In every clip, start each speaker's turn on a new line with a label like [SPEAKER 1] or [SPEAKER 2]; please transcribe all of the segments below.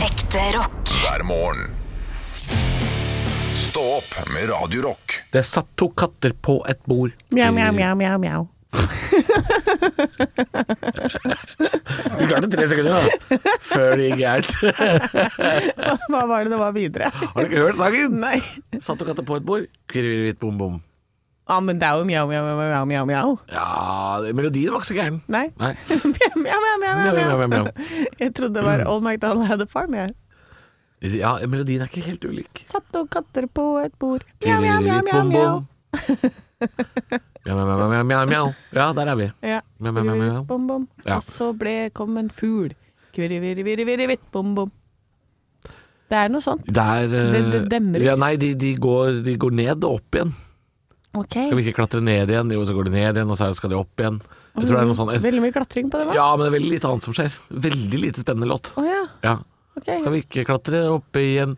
[SPEAKER 1] Ekte rock.
[SPEAKER 2] hver morgen. Stå opp med Radio Rock.
[SPEAKER 3] Det satt to katter på et bord.
[SPEAKER 4] Mjau, mjau, mjau, mjau, mjau.
[SPEAKER 3] Vi klarte tre sekunder da, før det gikk gærent.
[SPEAKER 4] Hva var det det var videre?
[SPEAKER 3] Har du ikke hørt sangen?
[SPEAKER 4] Nei.
[SPEAKER 3] Satt to katter på et bord. Kurvirvitt, bom, bom.
[SPEAKER 4] Ja, men det er jo mjau, mjau, mjau, mjau, mjau, mjau.
[SPEAKER 3] Ja, det- melodien var ikke så gæren.
[SPEAKER 4] Nei.
[SPEAKER 3] Nei.
[SPEAKER 4] Mjau, mjau, mjau, mjau,
[SPEAKER 3] Mjau, mjau, mjau, mjau.
[SPEAKER 4] Jeg trodde det var Old MacDonald had a farm, jeg.
[SPEAKER 3] Ja, melodien er ikke helt ulik.
[SPEAKER 4] Satt og katter på et bord. Mjau, mjau, mjau,
[SPEAKER 3] Kurvirvitt,
[SPEAKER 4] mjau,
[SPEAKER 3] bom,
[SPEAKER 4] mjau.
[SPEAKER 3] bom. Mjau, mjau, mjau, mjau, mjau, mjau. Ja, der er vi.
[SPEAKER 4] Ja.
[SPEAKER 3] Mjau, mjau, mjau, mjau.
[SPEAKER 4] Bom, bom.
[SPEAKER 3] Ja.
[SPEAKER 4] Og så ble, kom en fugl. Kvirrevirrevirrevirrevitt, bom, bom. Det er noe sånt.
[SPEAKER 3] Der eh,
[SPEAKER 4] Det- det demrer.
[SPEAKER 3] Ja, nei, de, de, går, de går ned og opp igjen.
[SPEAKER 4] Ok.
[SPEAKER 3] Skal vi ikke klatre ned igjen? Jo, så går de ned igjen, og så skal de opp igjen. Jeg tror det er noe sånn
[SPEAKER 4] Veldig mye klatring på det, hva?
[SPEAKER 3] Ja, men det er veldig lite annet som skjer. Veldig lite spennende låt.
[SPEAKER 4] Å ja,
[SPEAKER 3] Ja.
[SPEAKER 4] ok.
[SPEAKER 3] Skal vi ikke klatre opp igjen?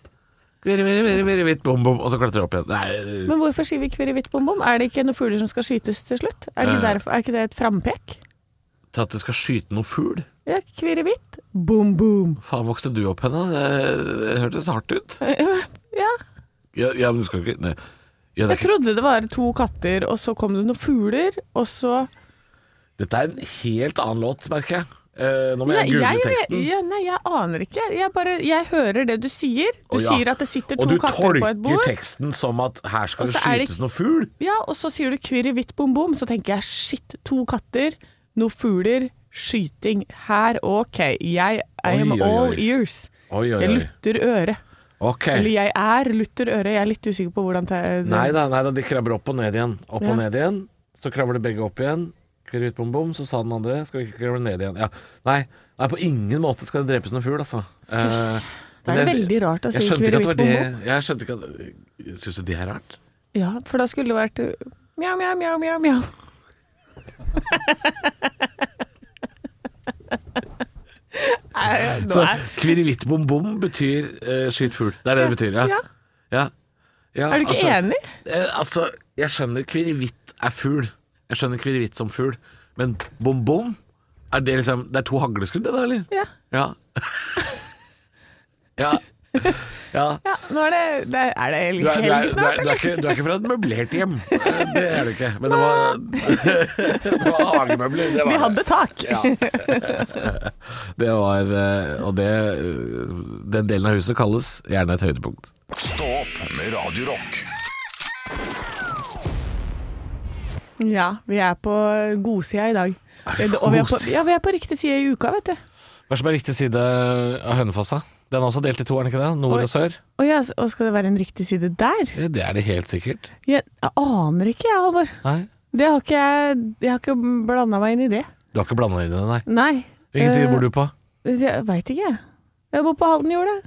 [SPEAKER 3] Virre, virre, virre, virre, vitt, bom, bom, og så klatre opp igjen. Nei,
[SPEAKER 4] Men hvorfor sier vi kvirrevitt, bom, bom? Er det ikke noen fugler som skal skytes til slutt? Er det ikke,
[SPEAKER 3] Eh.
[SPEAKER 4] derfor, er ikke det et frampek?
[SPEAKER 3] til at du skal skyte noen fugl.
[SPEAKER 4] Ja, kvirrevitt. Boom, boom.
[SPEAKER 3] Faen, vokste du opp henne? Det det hørtes hardt ut.
[SPEAKER 4] Ja.
[SPEAKER 3] Ja, ja men du skal ikke Nei. Ja, det
[SPEAKER 4] Jeg
[SPEAKER 3] er ikke,
[SPEAKER 4] trodde det var to katter, og så kom det noen fugler, og så
[SPEAKER 3] dette er en helt annen låt, merker jeg. Eh, nå må
[SPEAKER 4] Nei,
[SPEAKER 3] jeg google
[SPEAKER 4] jeg-
[SPEAKER 3] teksten.
[SPEAKER 4] Ja, nei, jeg aner ikke. Jeg bare Jeg hører det du sier. Du
[SPEAKER 3] Å, ja.
[SPEAKER 4] sier at det sitter
[SPEAKER 3] Og
[SPEAKER 4] to
[SPEAKER 3] du
[SPEAKER 4] katter på
[SPEAKER 3] tolker
[SPEAKER 4] et bord.
[SPEAKER 3] teksten som at her skal
[SPEAKER 4] Og
[SPEAKER 3] det
[SPEAKER 4] så er det-
[SPEAKER 3] skytes noen fugl.
[SPEAKER 4] Ja, og så sier du kvirrevitt bom bom, så tenker jeg shit, to katter, noen fugler, skyting. Her, OK. Jeg I am
[SPEAKER 3] Oi, oi,
[SPEAKER 4] all
[SPEAKER 3] oi.
[SPEAKER 4] ears.
[SPEAKER 3] Oi, oi,
[SPEAKER 4] Jeg
[SPEAKER 3] oi.
[SPEAKER 4] lutter øret.
[SPEAKER 3] Ok.
[SPEAKER 4] Eller jeg er lutter øret. Jeg er litt usikker på hvordan det
[SPEAKER 3] Nei da, nei da, de krabber opp og ned igjen. Opp
[SPEAKER 4] Ja.
[SPEAKER 3] og ned igjen. Så krabber de begge opp igjen. Kurr ut bom bom, så sa den andre skal vi ikke krabbe ned igjen. Ja. Nei, nei, på ingen måte skal det drepes noen fugl, altså. Eh,
[SPEAKER 4] Jøss. Det
[SPEAKER 3] men
[SPEAKER 4] er
[SPEAKER 3] jeg-
[SPEAKER 4] veldig rart å si
[SPEAKER 3] Jeg skjønte ikke at det var
[SPEAKER 4] kvirrevitt bom bom.
[SPEAKER 3] det Jeg skjønte ikke at Syns du det er rart?
[SPEAKER 4] Ja, for da skulle det vært uh, mjau, mjau, mjau, mjau, mjau. Nei, nå
[SPEAKER 3] Så
[SPEAKER 4] er,
[SPEAKER 3] kvirrevitt bom bom betyr eh, skyt fugl. Det er det det betyr, ja.
[SPEAKER 4] ja.
[SPEAKER 3] Ja. Ja,
[SPEAKER 4] er du ikke
[SPEAKER 3] altså,
[SPEAKER 4] enig?
[SPEAKER 3] Eh, altså, jeg skjønner kvirrevitt er fugl. Jeg skjønner kvirrevitt som fugl. Men bom bom, er det liksom Det er to hagleskudd, det da, eller?
[SPEAKER 4] Ja.
[SPEAKER 3] Ja. ja. ja.
[SPEAKER 4] Ja, nå er det, det Er det
[SPEAKER 3] Du er, du, er,
[SPEAKER 4] helg
[SPEAKER 3] du, er,
[SPEAKER 4] snart,
[SPEAKER 3] du, er
[SPEAKER 4] eller?
[SPEAKER 3] ikke, du er ikke fra et møblert hjem. Det er du ikke. Men det var, det var hagemøbler. Det var,
[SPEAKER 4] Vi
[SPEAKER 3] det.
[SPEAKER 4] hadde tak.
[SPEAKER 3] Ja. Det var eh, Og det eh, Den delen av huset kalles gjerne et høydepunkt.
[SPEAKER 2] Stå opp med Radio Rock.
[SPEAKER 4] Ja, vi er på godsida i dag. Eh, Og vi er på, ja, vi er på riktig side i uka, vet du.
[SPEAKER 3] Hva som er riktig side av Hønefossa? Den er også delt i to, er den ikke det? Nord
[SPEAKER 4] Oi.
[SPEAKER 3] og sør?
[SPEAKER 4] Å ja, og skal det være en riktig side der?
[SPEAKER 3] Ja, Det er det helt sikkert.
[SPEAKER 4] Jeg, jeg aner ikke, jeg, Halvor.
[SPEAKER 3] Nei?
[SPEAKER 4] Det har ikke jeg Jeg har ikke blanda meg inn i det.
[SPEAKER 3] Du har ikke blanda deg inn i det, nei?
[SPEAKER 4] Nei.
[SPEAKER 3] Hvilken side bor du på?
[SPEAKER 4] Jeg veit ikke, jeg. Jeg bor på Haldenjordet.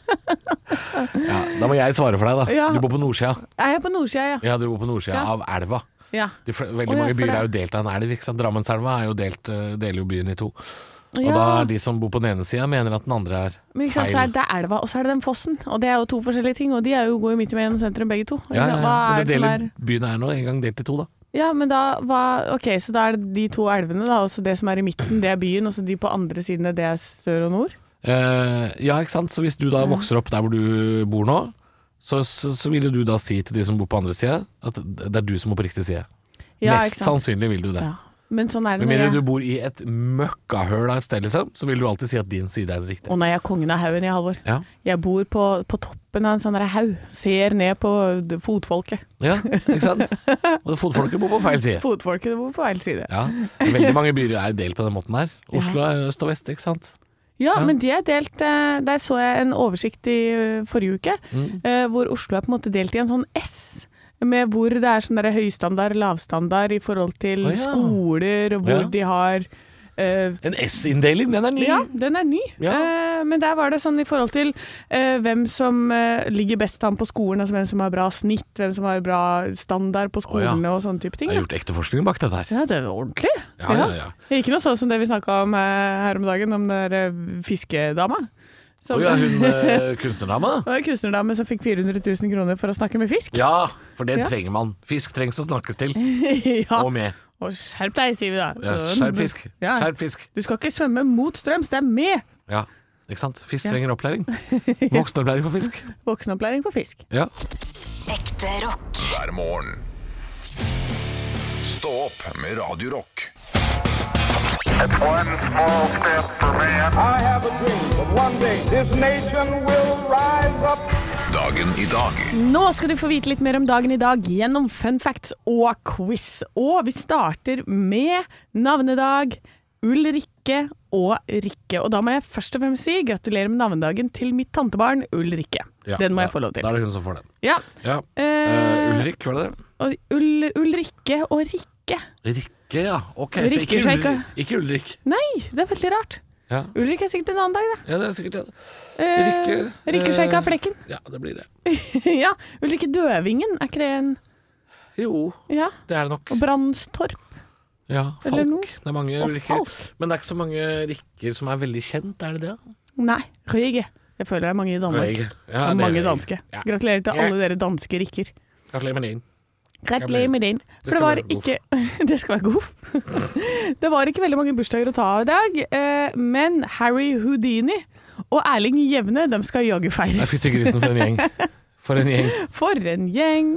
[SPEAKER 3] Ja, da må jeg svare for deg, da.
[SPEAKER 4] Ja.
[SPEAKER 3] Du bor på nordsida.
[SPEAKER 4] Er jeg på nordsida, ja.
[SPEAKER 3] Ja, du bor på nordsida
[SPEAKER 4] Ja.
[SPEAKER 3] av elva.
[SPEAKER 4] Ja.
[SPEAKER 3] De, fl- veldig
[SPEAKER 4] Å, ja,
[SPEAKER 3] mange
[SPEAKER 4] for
[SPEAKER 3] byer
[SPEAKER 4] det.
[SPEAKER 3] er jo delt av en elv. ikke sant? Drammenselva er jo delt, eh, deler jo byen i to. Og
[SPEAKER 4] Ja.
[SPEAKER 3] da er de som bor på den ene sida, mener at den andre er
[SPEAKER 4] Men ikke sant, så
[SPEAKER 3] feil.
[SPEAKER 4] er det elva, og så er det den fossen. Og det er jo to forskjellige ting, og de er jo går jo midt imellom sentrum begge to.
[SPEAKER 3] Ja,
[SPEAKER 4] Ikke
[SPEAKER 3] ja,
[SPEAKER 4] sant?
[SPEAKER 3] ja.
[SPEAKER 4] Hva
[SPEAKER 3] Men
[SPEAKER 4] er det som
[SPEAKER 3] deler-
[SPEAKER 4] er
[SPEAKER 3] Byen er nå en gang delt i to, da.
[SPEAKER 4] Ja, men da hva Ok, så da er det de to elvene, da. Og så det som er i midten, det er byen. Og så de på andre sidene, det er sør og nord.
[SPEAKER 3] Eh, ja, ikke sant? Så hvis du da vokser opp der hvor du bor nå, så, så, så vil jo du da si til de som bor på andre sida, at det er du som bor på riktig side.
[SPEAKER 4] Ja,
[SPEAKER 3] Mest
[SPEAKER 4] ikke sant?
[SPEAKER 3] sannsynlig vil du det.
[SPEAKER 4] Ja. Men sånn er det
[SPEAKER 3] Med
[SPEAKER 4] når
[SPEAKER 3] mindre
[SPEAKER 4] jeg
[SPEAKER 3] du bor i et møkkahøl av et sted, liksom, så vil du alltid si at din side er den riktige.
[SPEAKER 4] Å nei, jeg er kongen av haugen, jeg, Halvor.
[SPEAKER 3] Ja.
[SPEAKER 4] Jeg bor på, på toppen av en sånn der haug. Ser ned på d- fotfolket.
[SPEAKER 3] ja, ikke sant? Og fotfolket bor på feil side.
[SPEAKER 4] Fotfolket bor på feil side. Ja,
[SPEAKER 3] Ja, Veldig mange byer er delt på den måten her. Oslo er øst og vest, ikke sant.
[SPEAKER 4] men de er delt eh, Der så jeg en oversikt i eh, forrige uke,
[SPEAKER 3] Mm.
[SPEAKER 4] eh, hvor Oslo er på en måte delt i en sånn S. Med hvor det er sånn der høystandard, lavstandard i forhold til
[SPEAKER 3] Å, ja.
[SPEAKER 4] skoler, og hvor
[SPEAKER 3] Ja.
[SPEAKER 4] de har eh,
[SPEAKER 3] En S-inndeling, den er ny!
[SPEAKER 4] Ja, den er ny. Eh, men der var det sånn i forhold til eh, hvem som eh, ligger best an på skolen, altså hvem som har bra snitt, hvem som har bra standard på
[SPEAKER 3] ja.
[SPEAKER 4] skolene og sånne type ting.
[SPEAKER 3] Jeg har
[SPEAKER 4] Da.
[SPEAKER 3] gjort ekte forskning bak dette her.
[SPEAKER 4] Ja, det var ordentlig.
[SPEAKER 3] Ja, ja, ja.
[SPEAKER 4] Ikke noe sånn som det vi snakka om eh, her om dagen, om den der eh, fiskedama. Som,
[SPEAKER 3] Og ja, hun eh, kunstnerdama, da.
[SPEAKER 4] det var en kunstnerdame som fikk 400 000 kroner for å snakke med fisk.
[SPEAKER 3] Ja, for det
[SPEAKER 4] Ja.
[SPEAKER 3] trenger man. Fisk trengs å snakkes til.
[SPEAKER 4] Ja.
[SPEAKER 3] Og med.
[SPEAKER 4] Og skjerp deg, sier vi da.
[SPEAKER 3] Ja, skjerp fisk.
[SPEAKER 4] Ja.
[SPEAKER 3] Skjerp fisk.
[SPEAKER 4] Du skal ikke svømme mot strøms, det er med!
[SPEAKER 3] Ja. Ikke sant? Fisk
[SPEAKER 4] Ja.
[SPEAKER 3] trenger opplæring. Voksenopplæring for fisk.
[SPEAKER 4] Voksenopplæring på fisk.
[SPEAKER 3] Ja.
[SPEAKER 1] Ekte rock.
[SPEAKER 2] hver morgen. Stå opp med Radio Rock.
[SPEAKER 5] It's one small step for man.
[SPEAKER 6] I have a dream that one day this nation will rise up.
[SPEAKER 2] Dagen i dag.
[SPEAKER 4] Nå skal du få vite litt mer om dagen i dag gjennom fun facts og quiz. Og vi starter med navnedag. Ulrikke og Rikke. Og da må jeg først og fremst si gratulerer med navnedagen til mitt tantebarn Ulrikke.
[SPEAKER 3] Ja,
[SPEAKER 4] Den må jeg
[SPEAKER 3] da-
[SPEAKER 4] få lov til.
[SPEAKER 3] Da er det hun som får den.
[SPEAKER 4] Ja.
[SPEAKER 3] Ja. Eh,
[SPEAKER 4] Eh,
[SPEAKER 3] Ulrik, var det det?
[SPEAKER 4] og Ull, Ulrikke og Rikke.
[SPEAKER 3] Rikke, ja. Ok, så
[SPEAKER 4] Rikke
[SPEAKER 3] ikke,
[SPEAKER 4] Skeika.
[SPEAKER 3] Ulrik, ikke Ulrik.
[SPEAKER 4] Nei, det er veldig rart.
[SPEAKER 3] Ja.
[SPEAKER 4] Ulrik er sikkert en annen dag, det.
[SPEAKER 3] ja, det er sikkert det.
[SPEAKER 4] Eh,
[SPEAKER 3] Rikke,
[SPEAKER 4] Rikke Skeika
[SPEAKER 3] eh,
[SPEAKER 4] Flekken.
[SPEAKER 3] Ja, det blir det.
[SPEAKER 4] ja. Ulrikke Døvingen, er ikke det en
[SPEAKER 3] Jo,
[SPEAKER 4] Ja.
[SPEAKER 3] det er det nok.
[SPEAKER 4] Og Brandstorp.
[SPEAKER 3] Ja, Falk.
[SPEAKER 4] Eller noe.
[SPEAKER 3] Det er mange
[SPEAKER 4] Og
[SPEAKER 3] Ulrikker.
[SPEAKER 4] Falk.
[SPEAKER 3] Men det er ikke så mange Rikker som er veldig kjent, er det det?
[SPEAKER 4] Nei, Røyge. Jeg føler det er mange i Danmark.
[SPEAKER 3] Ulrikke. Ja,
[SPEAKER 4] Og
[SPEAKER 3] det er
[SPEAKER 4] mange
[SPEAKER 3] Ulrikke.
[SPEAKER 4] danske.
[SPEAKER 3] Ja.
[SPEAKER 4] Gratulerer til
[SPEAKER 3] Ja.
[SPEAKER 4] alle dere danske rikker.
[SPEAKER 3] Gratulerer med dagen.
[SPEAKER 4] Gratulerer med din. For
[SPEAKER 3] Det skal
[SPEAKER 4] det var
[SPEAKER 3] være goff.
[SPEAKER 4] ikke Det skal være goff. Det var ikke veldig mange bursdager å ta av i dag, eh, men Harry Houdini og Erling Jevne de skal
[SPEAKER 3] Nei,
[SPEAKER 4] jaggu feires.
[SPEAKER 3] fytti grisen, for en gjeng. For en gjeng.
[SPEAKER 4] For en gjeng.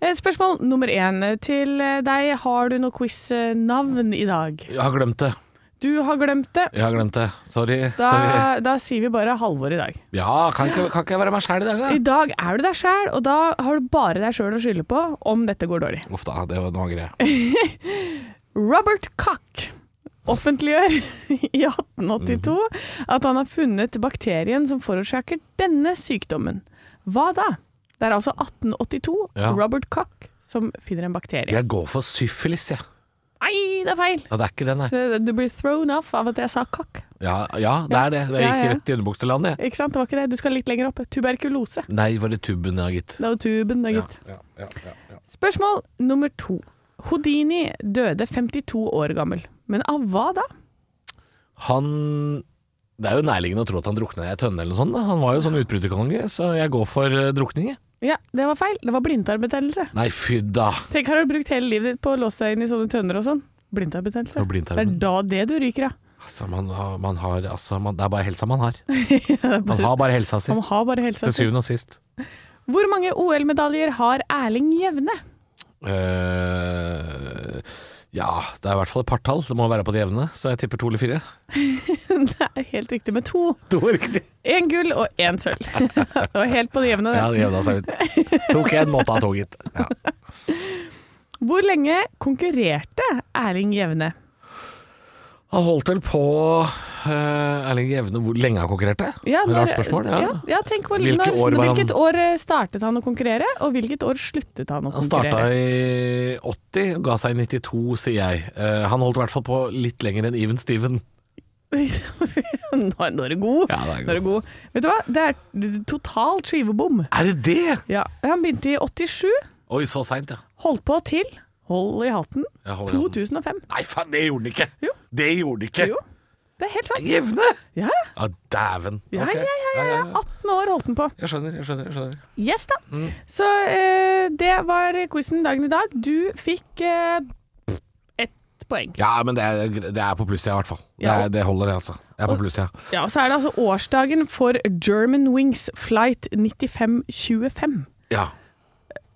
[SPEAKER 4] Eh, Spørsmål nummer én til eh, deg. Har du noe quiz-navn i dag?
[SPEAKER 3] Jeg har glemt det.
[SPEAKER 4] Du har glemt det.
[SPEAKER 3] Jeg har glemt det. Sorry. Sorry.
[SPEAKER 4] Da, da sier vi bare Halvor i dag.
[SPEAKER 3] Ja, kan ikke, kan ikke jeg være meg sjæl i dag, da?
[SPEAKER 4] I dag er du deg sjæl, og da har du bare deg sjøl å skylde på om dette går dårlig.
[SPEAKER 3] Uff da, det var noe greier.
[SPEAKER 4] Robert Koch offentliggjør i 1882
[SPEAKER 3] Mhm.
[SPEAKER 4] at han har funnet bakterien som forårsaker denne sykdommen. Hva da? Det er altså 1882,
[SPEAKER 3] Ja.
[SPEAKER 4] Robert Koch, som finner en bakterie.
[SPEAKER 3] Jeg går for syfilis, jeg.
[SPEAKER 4] Nei, det er feil!
[SPEAKER 3] Ja. det er ikke den, nei.
[SPEAKER 4] Så Du blir thrown off av at jeg sa kakk.
[SPEAKER 3] Ja, ja, det er det. Det
[SPEAKER 4] Ja,
[SPEAKER 3] gikk
[SPEAKER 4] ja.
[SPEAKER 3] rett i underbukseland, jeg.
[SPEAKER 4] Ikke sant? Det var ikke det. Du skal litt lenger opp. Tuberkulose.
[SPEAKER 3] Nei, var det tubben, ja, gitt.
[SPEAKER 4] Det var tuben, da, gitt.
[SPEAKER 3] Ja, ja, ja, ja.
[SPEAKER 4] Spørsmål nummer to. Houdini døde 52 år gammel. Men av hva da?
[SPEAKER 3] Han Det er jo nærliggende å tro at han drukna i ei tønne eller noe sånt. Da. Han var jo sånn utbryterkonge, så jeg går for eh, drukning, jeg.
[SPEAKER 4] Ja, det var feil. Det var blindtarmbetennelse.
[SPEAKER 3] Nei, fy da.
[SPEAKER 4] Tenk, har du brukt hele livet ditt på å låse deg inn i sånne tønner og sånn?
[SPEAKER 3] Det
[SPEAKER 4] Blindtarmbetennelse.
[SPEAKER 3] var
[SPEAKER 4] Det er
[SPEAKER 3] blindtarmen.
[SPEAKER 4] da det du ryker, ja.
[SPEAKER 3] Altså, man, har- man har Altså, man, det er bare helsa man har. Man har bare helsa si.
[SPEAKER 4] Han har bare helsa
[SPEAKER 3] Til
[SPEAKER 4] si.
[SPEAKER 3] syvende og sist.
[SPEAKER 4] Hvor mange OL-medaljer har Erling Jevne?
[SPEAKER 3] Eh, ja, det er i hvert fall et partall. Det må være på det jevne, så jeg tipper to eller fire.
[SPEAKER 4] Det er helt riktig med to.
[SPEAKER 3] To riktig.
[SPEAKER 4] Én gull og én sølv. Det var helt på det jevne,
[SPEAKER 3] Ja,
[SPEAKER 4] det.
[SPEAKER 3] det jevna seg ut. Tok en måte av to, gitt. Ja.
[SPEAKER 4] Hvor lenge konkurrerte Erling Jevne?
[SPEAKER 3] Han holdt vel på eh, Erling Jevne hvor lenge han konkurrerte?
[SPEAKER 4] Ja, når-
[SPEAKER 3] Rart spørsmål. Ja.
[SPEAKER 4] Ja, ja, tenk hvor,
[SPEAKER 3] Hvilke
[SPEAKER 4] når,
[SPEAKER 3] år var han-
[SPEAKER 4] hvilket år eh, startet han å konkurrere, og hvilket år sluttet han å
[SPEAKER 3] Han starta
[SPEAKER 4] konkurrere?
[SPEAKER 3] i 80, og ga seg i 92, sier jeg. Eh, han holdt i hvert fall på litt lenger enn Even Steven.
[SPEAKER 4] nå, er- nå er du god.
[SPEAKER 3] Ja, det er
[SPEAKER 4] Nå er du god. Vet du hva, det er totalt skivebom.
[SPEAKER 3] Er det det?!
[SPEAKER 4] Ja, han begynte i 87,
[SPEAKER 3] Oi, så seint, ja.
[SPEAKER 4] holdt på til Hold i hatten
[SPEAKER 3] Ja, hold i hatten.
[SPEAKER 4] 2005.
[SPEAKER 3] Nei, faen, det gjorde han ikke!
[SPEAKER 4] Jo.
[SPEAKER 3] Det gjorde han ikke!
[SPEAKER 4] Jo, det er helt sant.
[SPEAKER 3] Jevne!
[SPEAKER 4] Ja,
[SPEAKER 3] Ja, dæven.
[SPEAKER 4] ja,
[SPEAKER 3] Ok.
[SPEAKER 4] ja, ja, ja, ja. 18 år holdt den på.
[SPEAKER 3] Jeg skjønner, jeg skjønner. jeg skjønner
[SPEAKER 4] Yes da. Så eh, det var quizen dagen i dag. Du fikk eh, ett poeng.
[SPEAKER 3] Ja, men det er, det er på plussida, i hvert fall. Det,
[SPEAKER 4] Ja.
[SPEAKER 3] er, det holder, det, altså. Jeg er på plussida.
[SPEAKER 4] Ja, og så er det altså årsdagen for German Wings flight 9525.
[SPEAKER 3] Ja.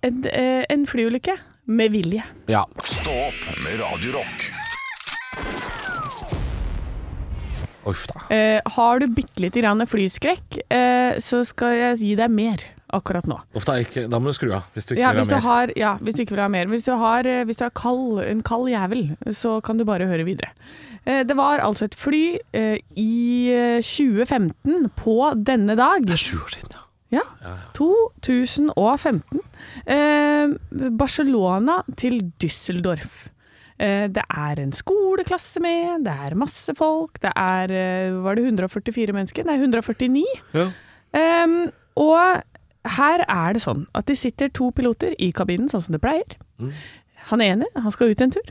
[SPEAKER 4] En, eh, en flyulykke med vilje.
[SPEAKER 3] ja.
[SPEAKER 2] Stå opp med Radio Rock.
[SPEAKER 3] Uff da.
[SPEAKER 4] Eh, har du bitte lite grann flyskrekk, eh, så skal jeg gi deg mer akkurat nå.
[SPEAKER 3] Uff da, ikke, da må du skru av. Hvis du ikke
[SPEAKER 4] Ja,
[SPEAKER 3] vil
[SPEAKER 4] hvis du
[SPEAKER 3] ha mer.
[SPEAKER 4] har, ja, hvis du ikke vil ha mer. Hvis du har, eh, hvis du har kald, en kald jævel, så kan du bare høre videre. Eh, Det var altså et fly eh, i eh, 2015 på denne dag.
[SPEAKER 3] Det er sju år siden, ja.
[SPEAKER 4] Ja, 2015. Eh, Barcelona til Düsseldorf. Eh, det er en skoleklasse med, det er masse folk, det er eh, Var det 144 mennesker? Nei, 149.
[SPEAKER 3] Ja.
[SPEAKER 4] Eh, og her er det sånn at det sitter to piloter i kabinen, sånn som det pleier. Han ene, han skal ut en tur.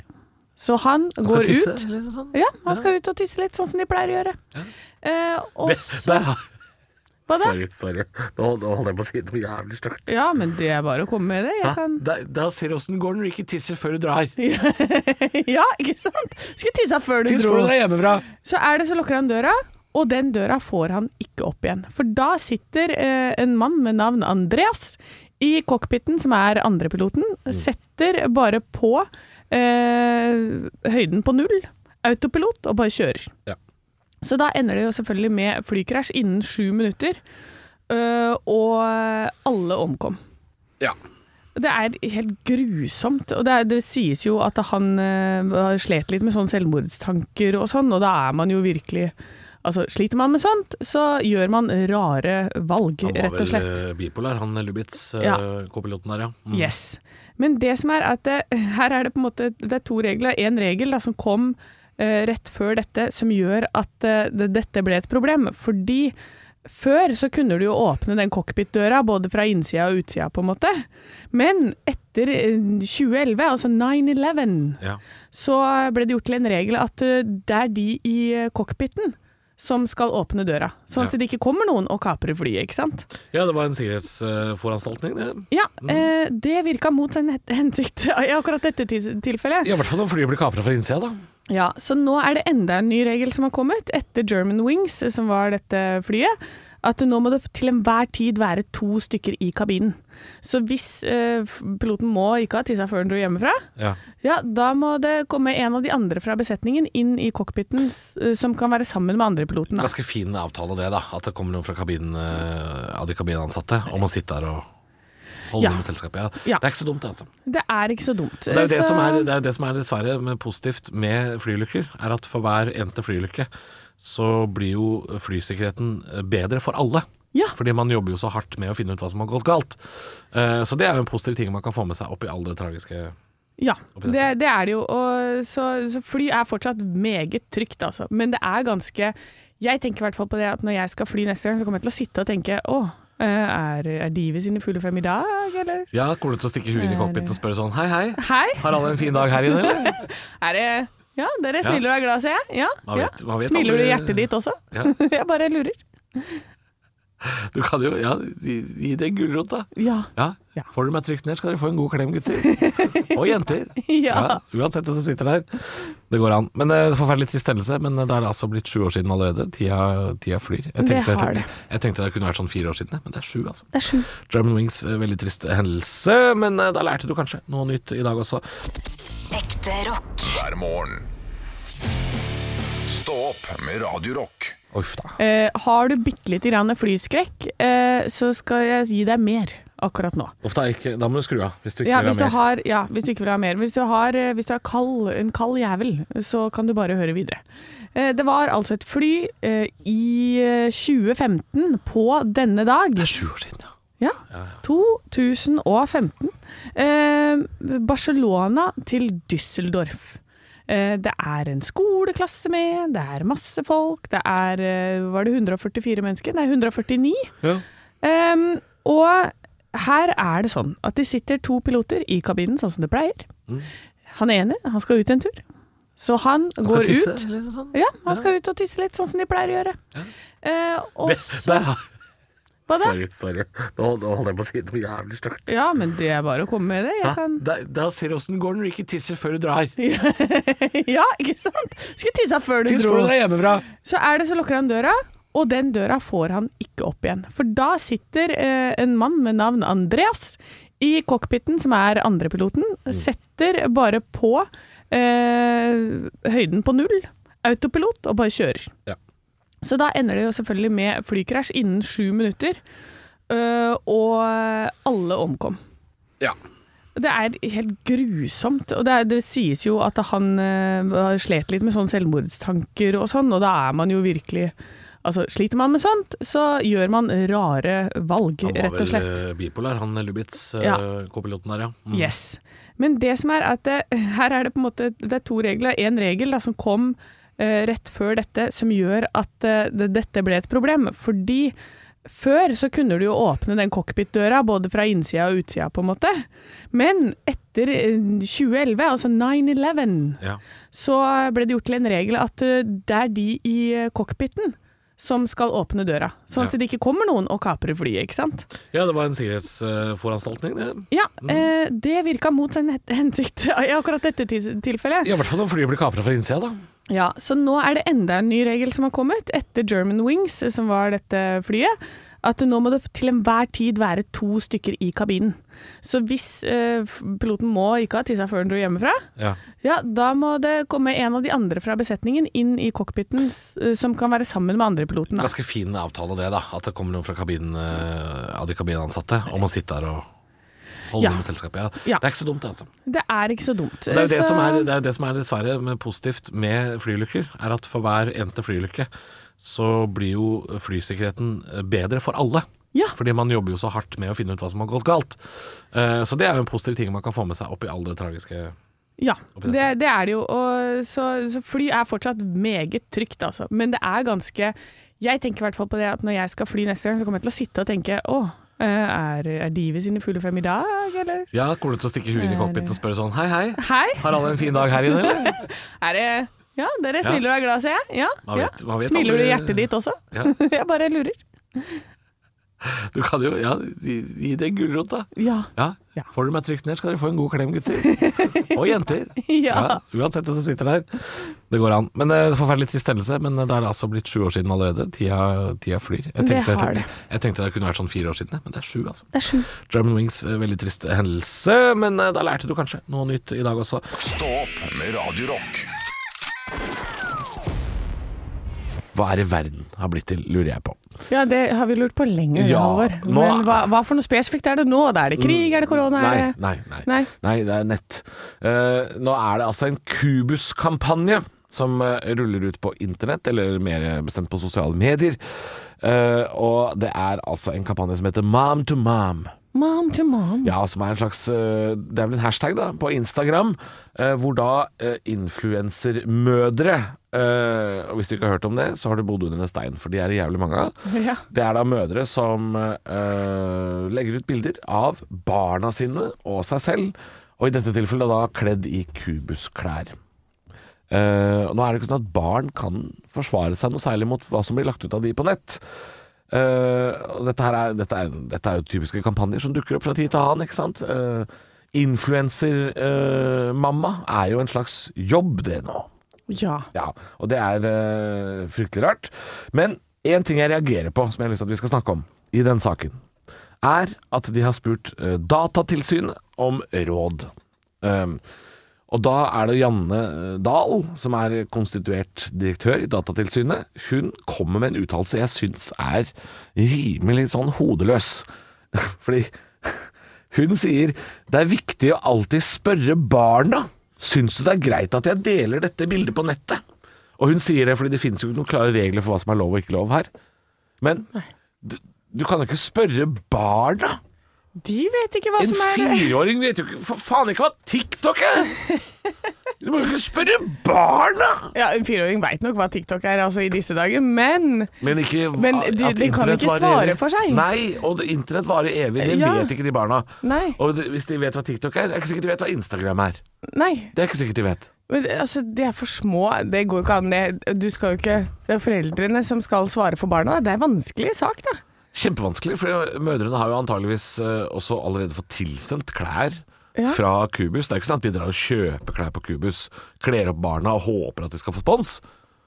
[SPEAKER 4] Så han, går ut.
[SPEAKER 3] eller noe sånt?
[SPEAKER 4] Ja, han skal ut og tisse litt, sånn som de pleier å gjøre. Eh, og så
[SPEAKER 3] Der,
[SPEAKER 4] Hva da?
[SPEAKER 3] sorry, sorry. Nå, nå holdt jeg på å si noe jævlig stygt.
[SPEAKER 4] Ja, men det er bare å komme med det. Jeg kan
[SPEAKER 3] Da, da ser du åssen det går når du ikke tisser før du drar. Tiss
[SPEAKER 4] Ja, ikke sant? Skulle tissa før du
[SPEAKER 3] før
[SPEAKER 4] dro.
[SPEAKER 3] du drar hjemmefra.
[SPEAKER 4] Så er det så lukker han døra, Og den døra får han ikke opp igjen. For da sitter eh, en mann med navn Andreas i cockpiten, som er andrepiloten, setter bare på eh, høyden på null, autopilot, og bare kjører.
[SPEAKER 3] Ja.
[SPEAKER 4] Så da ender det jo selvfølgelig med flykrasj innen sju minutter, eh, og alle omkom.
[SPEAKER 3] Ja.
[SPEAKER 4] Det er helt grusomt. Og det, er, det sies jo at han eh, slet litt med sånne selvmordstanker og sånn, og da er man jo virkelig Altså, sliter man med sånt, så gjør man rare valg,
[SPEAKER 3] Han var
[SPEAKER 4] rett og slett.
[SPEAKER 3] vel eh, bipolar, han Lubitz, eh,
[SPEAKER 4] Ja.
[SPEAKER 3] co-piloten der, ja. Mm.
[SPEAKER 4] Yes. Men det som er at det, her er det på en måte Det er to regler. Én regel da, som kom eh, rett før dette, som gjør at eh, det, dette ble et problem. Fordi før så kunne du jo åpne den cockpit-døra både fra innsida og utsida, på en måte. Men etter eh, 2011, altså 9-11,
[SPEAKER 3] Ja.
[SPEAKER 4] så ble det gjort til en regel at eh, det er de i eh, cockpiten som skal åpne døra. Sånn at
[SPEAKER 3] Ja.
[SPEAKER 4] det ikke kommer noen og kaprer flyet, ikke sant.
[SPEAKER 3] ja, det var en sikkerhetsforanstaltning, det.
[SPEAKER 4] Ja, eh, det virka mot sin het- hensikt i akkurat dette tis- tilfellet.
[SPEAKER 3] Ja, I hvert fall når flyet blir kapra fra innsida, da.
[SPEAKER 4] Ja, Så nå er det enda en ny regel som har kommet, etter German Wings, eh, som var dette flyet. At nå må det til enhver tid være to stykker i kabinen. Så hvis eh, f- piloten må ikke ha tissa før han dro hjemmefra,
[SPEAKER 3] Ja.
[SPEAKER 4] ja, da må det komme en av de andre fra besetningen inn i cockpiten s- eh, som kan være sammen med andrepiloten. da.
[SPEAKER 3] Ganske fin avtale det, da. At det kommer noen fra kabinen, eh, av de kabinansatte om å sitte der og holde
[SPEAKER 4] Ja.
[SPEAKER 3] dem med selskap. Ja.
[SPEAKER 4] Ja.
[SPEAKER 3] Det er ikke så dumt, det, altså.
[SPEAKER 4] Det er ikke så dumt. Eh,
[SPEAKER 3] Det er jo det,
[SPEAKER 4] Så-
[SPEAKER 3] som er, det er jo det som er dessverre med positivt med flyulykker, er at for hver eneste flyulykke så blir jo flysikkerheten eh, bedre for alle.
[SPEAKER 4] Ja.
[SPEAKER 3] Fordi man jobber jo så hardt med å finne ut hva som har gått galt. Eh, Så det er jo en positiv ting man kan få med seg oppi all det tragiske
[SPEAKER 4] Ja,
[SPEAKER 3] oppi
[SPEAKER 4] det,
[SPEAKER 3] dette.
[SPEAKER 4] det er det jo. Og så, så fly er fortsatt meget trygt, altså. Men det er ganske Jeg tenker i hvert fall på det at når jeg skal fly neste gang, så kommer jeg til å sitte og tenke Å, eh, er, er de ved sine fulle fem i dag, eller?
[SPEAKER 3] Ja, kommer du til å stikke huet inn i cockpiten og spørre sånn Hei, hei,
[SPEAKER 4] Hei,
[SPEAKER 3] har alle en fin dag her inne, eller?
[SPEAKER 4] er det Ja, dere smiler og er glad, ser jeg. Ja,
[SPEAKER 3] Hva
[SPEAKER 4] ja.
[SPEAKER 3] vet- hva vet
[SPEAKER 4] smiler du i
[SPEAKER 3] aldri-
[SPEAKER 4] hjertet ditt også?
[SPEAKER 3] Ja.
[SPEAKER 4] jeg bare lurer.
[SPEAKER 3] Du kan jo Ja, gi gi det en gulrot, da.
[SPEAKER 4] Ja.
[SPEAKER 3] Ja.
[SPEAKER 4] Ja.
[SPEAKER 3] Får du meg trygt ned, skal dere få en god klem, gutter. Og jenter.
[SPEAKER 4] Ja.
[SPEAKER 3] Uansett hvem som sitter der. Det går an. Men eh, Forferdelig trist hendelse, men eh, da er det altså blitt sju år siden allerede. Tida, tida flyr. Jeg tenkte,
[SPEAKER 4] har
[SPEAKER 3] jeg,
[SPEAKER 4] det.
[SPEAKER 3] jeg tenkte det kunne vært sånn fire år siden, men det er sju, altså.
[SPEAKER 4] Det er sju.
[SPEAKER 3] German Wings, eh, veldig trist hendelse, men eh, da lærte du kanskje noe nytt i dag også.
[SPEAKER 1] Ekte rock.
[SPEAKER 2] hver morgen. Stå opp med Radio Rock.
[SPEAKER 3] Uff da.
[SPEAKER 4] Eh, har du bitte lite grann flyskrekk, eh, så skal jeg gi deg mer akkurat nå.
[SPEAKER 3] Uff da, ikke, da må du skru av hvis du ikke
[SPEAKER 4] Ja
[SPEAKER 3] vil
[SPEAKER 4] hvis du,
[SPEAKER 3] ha mer.
[SPEAKER 4] har, ja, hvis du ikke vil ha mer. Hvis du har, eh, hvis du har kald, en kald jævel, så kan du bare høre videre. Eh, Det var altså et fly eh, i eh, 2015 på denne dag.
[SPEAKER 3] Det er sju år siden, ja.
[SPEAKER 4] Ja, 2015. Eh, Barcelona til Düsseldorf. Eh, det er en skoleklasse med, det er masse folk, det er eh, Var det 144 mennesker? Nei, 149.
[SPEAKER 3] ja.
[SPEAKER 4] Ehm, og her er det sånn at det sitter to piloter i kabinen, sånn som det pleier. Han ene, han skal ut en tur. Så han, går ut.
[SPEAKER 3] eller noe sånt?
[SPEAKER 4] Ja, han skal ut og tisse litt, sånn som de pleier å gjøre. Eh, og
[SPEAKER 3] Det,
[SPEAKER 4] så,
[SPEAKER 3] der, har-
[SPEAKER 4] hva da?
[SPEAKER 3] sorry, sorry. Nå nå holdt jeg på å si noe jævlig stygt.
[SPEAKER 4] Ja, men det er bare å komme med det. Jeg
[SPEAKER 3] Ja,
[SPEAKER 4] kan
[SPEAKER 3] Da, da ser du åssen det går når du ikke tisser før du drar.
[SPEAKER 4] Ja, ikke sant? Skulle tissa før du
[SPEAKER 3] Tiss
[SPEAKER 4] dro.
[SPEAKER 3] før du drar hjemmefra.
[SPEAKER 4] Så er det så lukker han døra, og den døra får han ikke opp igjen. For da sitter eh, en mann med navn Andreas i cockpiten, som er andrepiloten,
[SPEAKER 3] Mm.
[SPEAKER 4] setter bare på eh, høyden på null, autopilot, og bare kjører.
[SPEAKER 3] Ja.
[SPEAKER 4] Så da ender det jo selvfølgelig med flykrasj innen sju minutter, eh, og alle omkom.
[SPEAKER 3] Ja.
[SPEAKER 4] Det er helt grusomt, og det, er, det sies jo at han eh, slet litt med sånne selvmordstanker og sånn, og da er man jo virkelig Altså, sliter man med sånt, så gjør man rare valg,
[SPEAKER 3] Han var
[SPEAKER 4] rett og slett.
[SPEAKER 3] vel eh, bipolar, han Lubitz, eh,
[SPEAKER 4] Ja.
[SPEAKER 3] co-piloten der, ja. Mm.
[SPEAKER 4] Yes. Men det som er at det, her er det på en måte det er to regler. En regel da, som kom eh, rett før dette, som gjør at eh, det, dette ble et problem. Fordi før så kunne du jo åpne den cockpit-døra både fra innsida og utsida, på en måte. Men etter eh, 2011, altså 9-11
[SPEAKER 3] Ja.
[SPEAKER 4] så ble det gjort til en regel at eh, det er de i eh, cockpiten som skal åpne døra, sånn at
[SPEAKER 3] Ja.
[SPEAKER 4] det ikke kommer noen og kaprer flyet, ikke sant?
[SPEAKER 3] ja, det var en sikkerhetsforanstaltning, det.
[SPEAKER 4] Ja, eh, det virka mot sin het- hensikt i akkurat dette tis- tilfellet.
[SPEAKER 3] I hvert fall når flyet blir kapra fra innsida, da.
[SPEAKER 4] Ja, så nå er det enda en ny regel som har kommet etter German Wings, eh, som var dette flyet. At nå må det til enhver tid være to stykker i kabinen. Så hvis eh, f- piloten må ikke ha tissa før han dro hjemmefra,
[SPEAKER 3] Ja.
[SPEAKER 4] ja, da må det komme en av de andre fra besetningen inn i cockpiten s- eh, som kan være sammen med andre piloten. Da.
[SPEAKER 3] Ganske fin avtale det, da. At det kommer noen fra kabinen eh, av de kabinansatte og man sitter der og holder
[SPEAKER 4] Ja.
[SPEAKER 3] dem med selskap. Ja.
[SPEAKER 4] Ja.
[SPEAKER 3] Det er ikke så dumt, det, altså.
[SPEAKER 4] Det er ikke så dumt. Eh,
[SPEAKER 3] Det er jo det,
[SPEAKER 4] Så-
[SPEAKER 3] som er, det er jo det som er dessverre med positivt med flyulykker, er at for hver eneste flyulykke så blir jo flysikkerheten eh, bedre for alle.
[SPEAKER 4] Ja.
[SPEAKER 3] Fordi man jobber jo så hardt med å finne ut hva som har gått galt. Eh, Så det er jo en positiv ting man kan få med seg opp i all det tragiske.
[SPEAKER 4] Ja,
[SPEAKER 3] oppi dette.
[SPEAKER 4] det, det er det jo. Og så, så fly er fortsatt meget trygt, altså. Men det er ganske Jeg tenker i hvert fall på det at når jeg skal fly neste gang, så kommer jeg til å sitte og tenke Å, eh, er, er Divi sine fulle fem i dag, eller?
[SPEAKER 3] Ja, kommer du til å stikke huet inn i cockpiten og spørre sånn hei, hei,
[SPEAKER 4] Hei,
[SPEAKER 3] har alle en fin dag her inne? eller?»
[SPEAKER 4] er det Ja, dere smiler og er glad, ser jeg. Ja,
[SPEAKER 3] Hva
[SPEAKER 4] ja.
[SPEAKER 3] vet- hva vet
[SPEAKER 4] Smiler du i
[SPEAKER 3] aldri-
[SPEAKER 4] hjertet ditt også?
[SPEAKER 3] Ja.
[SPEAKER 4] jeg bare lurer.
[SPEAKER 3] Du kan jo ja, gi gi det en gulrot, da.
[SPEAKER 4] Ja.
[SPEAKER 3] Ja.
[SPEAKER 4] Ja.
[SPEAKER 3] Får du meg trygt ned, skal dere få en god klem, gutter. Og jenter.
[SPEAKER 4] Ja.
[SPEAKER 3] uansett hvem som sitter der. Det går an. Men eh, Forferdelig trist hendelse, men eh, da er det altså blitt sju år siden allerede. Tida, tida flyr. Jeg tenkte,
[SPEAKER 4] Det har det.
[SPEAKER 3] Jeg, jeg tenkte det kunne vært sånn fire år siden, men det er sju, altså.
[SPEAKER 4] Det er sju.
[SPEAKER 3] German Wings, eh, veldig trist hendelse, men eh, da lærte du kanskje noe nytt i dag også.
[SPEAKER 2] Stå opp med Radio Rock.
[SPEAKER 3] Hva er i verden har blitt til, lurer jeg på.
[SPEAKER 4] Ja, det har vi lurt på lenge,
[SPEAKER 3] Ja,
[SPEAKER 4] Halvor.
[SPEAKER 3] nå-
[SPEAKER 4] Men hva, hva for noe spesifikt er det nå? Da er det krig, er det korona, er
[SPEAKER 3] Nei,
[SPEAKER 4] det
[SPEAKER 3] nei, nei.
[SPEAKER 4] Nei.
[SPEAKER 3] det er nett. Eh, nå er det altså en Kubus-kampanje som eh, ruller ut på internett, eller mer bestemt på sosiale medier. Eh, og det er altså en kampanje som heter Mom to Mom.
[SPEAKER 4] Mom to mom.
[SPEAKER 3] Ja, som er en slags eh, Det er vel en hashtag da, på Instagram, eh, hvor da eh, influensermødre eh, Og hvis du ikke har hørt om det, så har du bodd under en stein, for de er det jævlig mange av.
[SPEAKER 4] Ja.
[SPEAKER 3] Det er da mødre som eh, legger ut bilder av barna sine og seg selv, og i dette tilfellet da kledd i kubusklær. Eh, og nå er det ikke sånn at barn kan forsvare seg noe særlig mot hva som blir lagt ut av de på nett. Eh, og dette, her er, dette, er, dette er jo typiske kampanjer som dukker opp fra tid til annen, ikke sant? Uh, Influensermamma er jo en slags jobb, det nå.
[SPEAKER 4] ja.
[SPEAKER 3] Ja, og det er eh, fryktelig rart. Men én ting jeg reagerer på, som jeg har lyst til at vi skal snakke om i den saken, er at de har spurt eh, Datatilsynet om råd. Um, og da er det Janne eh, Dahl, som er konstituert direktør i Datatilsynet. Hun kommer med en uttalelse jeg syns er rimelig sånn hodeløs. Fordi hun sier det er viktig å alltid spørre barna Syns du det er greit at jeg deler dette bildet på nettet? Og hun sier det fordi det finnes jo ikke noen klare regler for hva som er lov og ikke lov her. Men d- du kan jo ikke spørre barna!
[SPEAKER 4] De vet ikke hva
[SPEAKER 3] En
[SPEAKER 4] som er
[SPEAKER 3] fireåring vet jo ikke, for faen ikke hva TikTok er! Du må jo ikke spørre barna!
[SPEAKER 4] Ja, En fireåring veit nok hva TikTok er altså, i disse dager, men
[SPEAKER 3] Men, ikke,
[SPEAKER 4] Men
[SPEAKER 3] at
[SPEAKER 4] de- de kan
[SPEAKER 3] internett
[SPEAKER 4] ikke
[SPEAKER 3] varer
[SPEAKER 4] svare
[SPEAKER 3] evig.
[SPEAKER 4] for seg.
[SPEAKER 3] Nei, og det- internett varer evig. Det
[SPEAKER 4] Ja.
[SPEAKER 3] vet ikke de barna.
[SPEAKER 4] Nei.
[SPEAKER 3] Og det- hvis de vet hva TikTok er, er det ikke sikkert de vet hva Instagram er.
[SPEAKER 4] Nei.
[SPEAKER 3] Det er ikke sikkert de vet.
[SPEAKER 4] Men, altså, de er for små. Det går jo ikke an. Det, du skal jo ikke, det er foreldrene som skal svare for barna. Det er en vanskelig sak, da.
[SPEAKER 3] Kjempevanskelig, for mødrene har jo antageligvis eh, også allerede fått tilsendt klær
[SPEAKER 4] Ja.
[SPEAKER 3] fra Kubus. Det er jo ikke sånn at de drar og kjøper klær på Kubus, kler opp barna og håper at de skal få spons.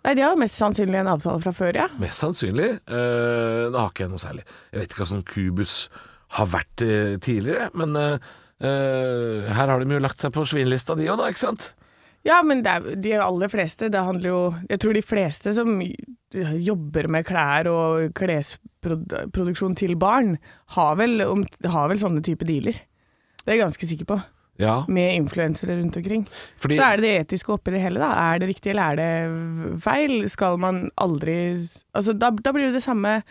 [SPEAKER 4] Nei, De har jo mest sannsynlig en avtale fra før, ja.
[SPEAKER 3] Mest sannsynlig. Eh, det har ikke jeg noe særlig. Jeg vet ikke hva sånn Kubus har vært eh, tidligere, men eh, eh, her har de jo lagt seg på svinlista de òg, da, ikke sant?
[SPEAKER 4] Ja, men det er, de aller fleste, det handler jo Jeg tror de fleste som jobber med klær og klesproduksjon til barn, har vel, om, har vel sånne type dealer. Det er jeg ganske sikker på.
[SPEAKER 3] Ja,
[SPEAKER 4] med influensere rundt omkring.
[SPEAKER 3] Fordi-
[SPEAKER 4] Mm. Så er det det etiske oppi det hele, da. Er det riktig, eller er det feil? Skal man aldri Altså, da, da blir det det samme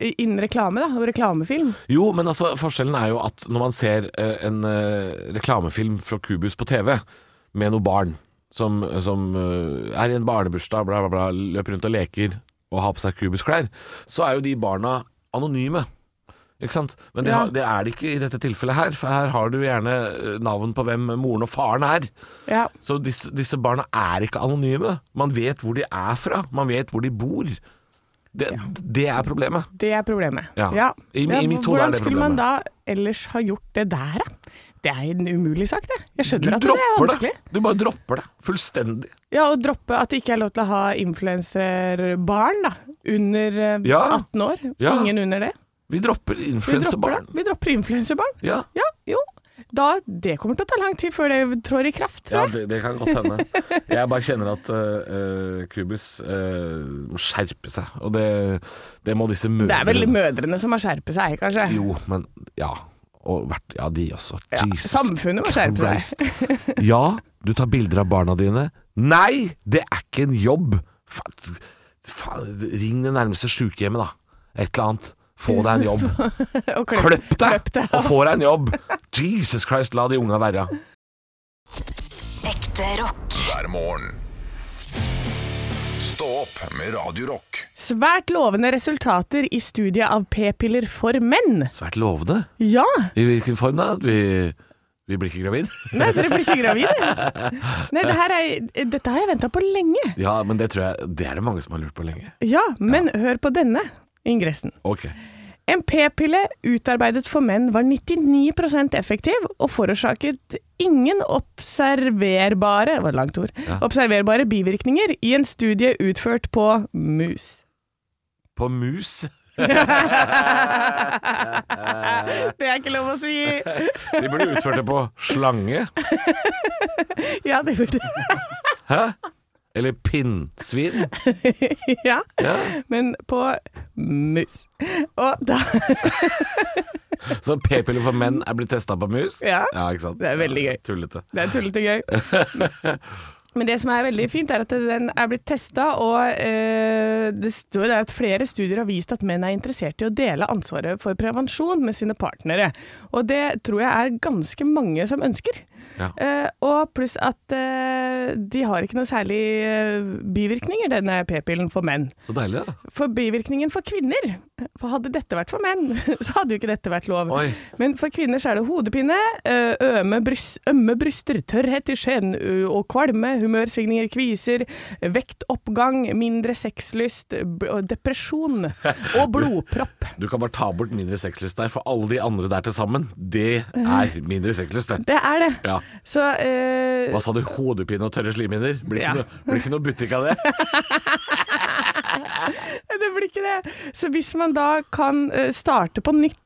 [SPEAKER 4] innen reklame, da, og reklamefilm.
[SPEAKER 3] Jo, men altså, forskjellen er jo at når man ser eh, en eh, reklamefilm fra Kubus på TV med noen barn som, som eh, er i en barnebursdag, bla, bla, bla, løper rundt og leker og har på seg Kubus-klær, så er jo de barna anonyme. Ikke sant? Men det,
[SPEAKER 4] Ja.
[SPEAKER 3] har, det er det ikke i dette tilfellet her, for her har du gjerne eh, navn på hvem moren og faren er.
[SPEAKER 4] Ja.
[SPEAKER 3] Så disse, disse barna er ikke anonyme. Man vet hvor de er fra, man vet hvor de bor. Det, det er problemet.
[SPEAKER 4] Det er problemet.
[SPEAKER 3] Ja. I- i mitt hode er
[SPEAKER 4] hvordan
[SPEAKER 3] det
[SPEAKER 4] skulle man
[SPEAKER 3] problemet.
[SPEAKER 4] da ellers ha gjort det der, da? Det er en umulig sak, det. Jeg
[SPEAKER 3] Du
[SPEAKER 4] skjønner at det er
[SPEAKER 3] dropper det.
[SPEAKER 4] vanskelig.
[SPEAKER 3] Du bare dropper det. Fullstendig.
[SPEAKER 4] Ja, Å droppe at det ikke er lov til å ha influenserbarn da, under eh,
[SPEAKER 3] Ja.
[SPEAKER 4] 18 år.
[SPEAKER 3] Ja.
[SPEAKER 4] Ingen under det.
[SPEAKER 3] Vi dropper
[SPEAKER 4] Vi dropper,
[SPEAKER 3] influensebarn.
[SPEAKER 4] det. Vi dropper influenserbarn.
[SPEAKER 3] Ja.
[SPEAKER 4] Ja, jo. Da, det kommer til å ta lang tid før det trår i kraft, tror
[SPEAKER 3] Ja,
[SPEAKER 4] jeg.
[SPEAKER 3] det, det kan godt hende. Jeg bare kjenner at eh, eh, Kubus eh, må skjerpe seg. Og det, det må disse mødrene
[SPEAKER 4] Det er vel mødrene som har skjerpet seg, kanskje?
[SPEAKER 3] Jo, men ja. Og vært, ja, de også.
[SPEAKER 4] Ja,
[SPEAKER 3] Jesus
[SPEAKER 4] samfunnet må skjerpe seg.
[SPEAKER 3] Christ. Ja, du tar bilder av barna dine. Nei, det er ikke en jobb! Fa- fa- ring det nærmeste sjukehjemmet, da. Et eller annet. Få deg en jobb.
[SPEAKER 4] Og
[SPEAKER 3] Kløpp
[SPEAKER 4] kløpp
[SPEAKER 3] deg, og få deg en jobb! Jesus Christ, la de unga være.
[SPEAKER 1] Ekte rock.
[SPEAKER 2] hver morgen. Stå opp med Radio Rock.
[SPEAKER 4] Svært lovende resultater i studiet av p-piller for menn.
[SPEAKER 3] Svært lovende.
[SPEAKER 4] Ja!
[SPEAKER 3] I hvilken form da? At vi, vi blir ikke gravid?
[SPEAKER 4] Nei, dere blir ikke gravide. Nei, det her er, dette har jeg venta på lenge.
[SPEAKER 3] ja, men det tror jeg Det er det mange som har lurt på lenge.
[SPEAKER 4] Ja, men hør på denne ingressen.
[SPEAKER 3] Ok.
[SPEAKER 4] En p-pille utarbeidet for menn var 99 effektiv og forårsaket ingen observerbare det var et langt ord, observerbare bivirkninger i en studie utført på mus.
[SPEAKER 3] På mus?
[SPEAKER 4] Det er ikke lov å si!
[SPEAKER 3] De burde utført det på slange.
[SPEAKER 4] Ja, det burde
[SPEAKER 3] Hæ? Eller pinnsvin.
[SPEAKER 4] Ja,
[SPEAKER 3] Ja.
[SPEAKER 4] men på mus. Og da
[SPEAKER 3] Så p-piller for menn er blitt testa på mus?
[SPEAKER 4] Ja.
[SPEAKER 3] ikke sant?
[SPEAKER 4] Det er veldig gøy.
[SPEAKER 3] Tullete.
[SPEAKER 4] Det er tullete gøy. Men det som er veldig fint, er at den er blitt testa, og eh, det står der at flere studier har vist at menn er interessert i å dele ansvaret for prevensjon med sine partnere. Og det tror jeg er ganske mange som ønsker.
[SPEAKER 3] Ja.
[SPEAKER 4] Eh, og pluss at eh, de har ikke noe særlig eh, bivirkninger, denne p-pillen for menn.
[SPEAKER 3] Så deilig, da.
[SPEAKER 4] For bivirkningen for kvinner For hadde dette vært for menn, så hadde jo ikke dette vært lov.
[SPEAKER 3] Oi.
[SPEAKER 4] Men for kvinner så er det hodepine, ø- øme brys- ømme bryster, tørrhet i skjeden ø- og kvalme, humørsvingninger, kviser, vektoppgang, mindre sexlyst, b- og depresjon og blodpropp.
[SPEAKER 3] Du kan bare ta bort mindre sexlyst der, for alle de andre der til sammen, det er mindre sexlyst, det.
[SPEAKER 4] Det er det.
[SPEAKER 3] Ja.
[SPEAKER 4] Så eh, ø,
[SPEAKER 3] Hva sa du? Hodepine og tørre slimhinner? Blir
[SPEAKER 4] Ja.
[SPEAKER 3] ikke, noe- blir ikke noe butikk av det?
[SPEAKER 4] det blir ikke det. Så hvis man da kan ø, starte på nytt,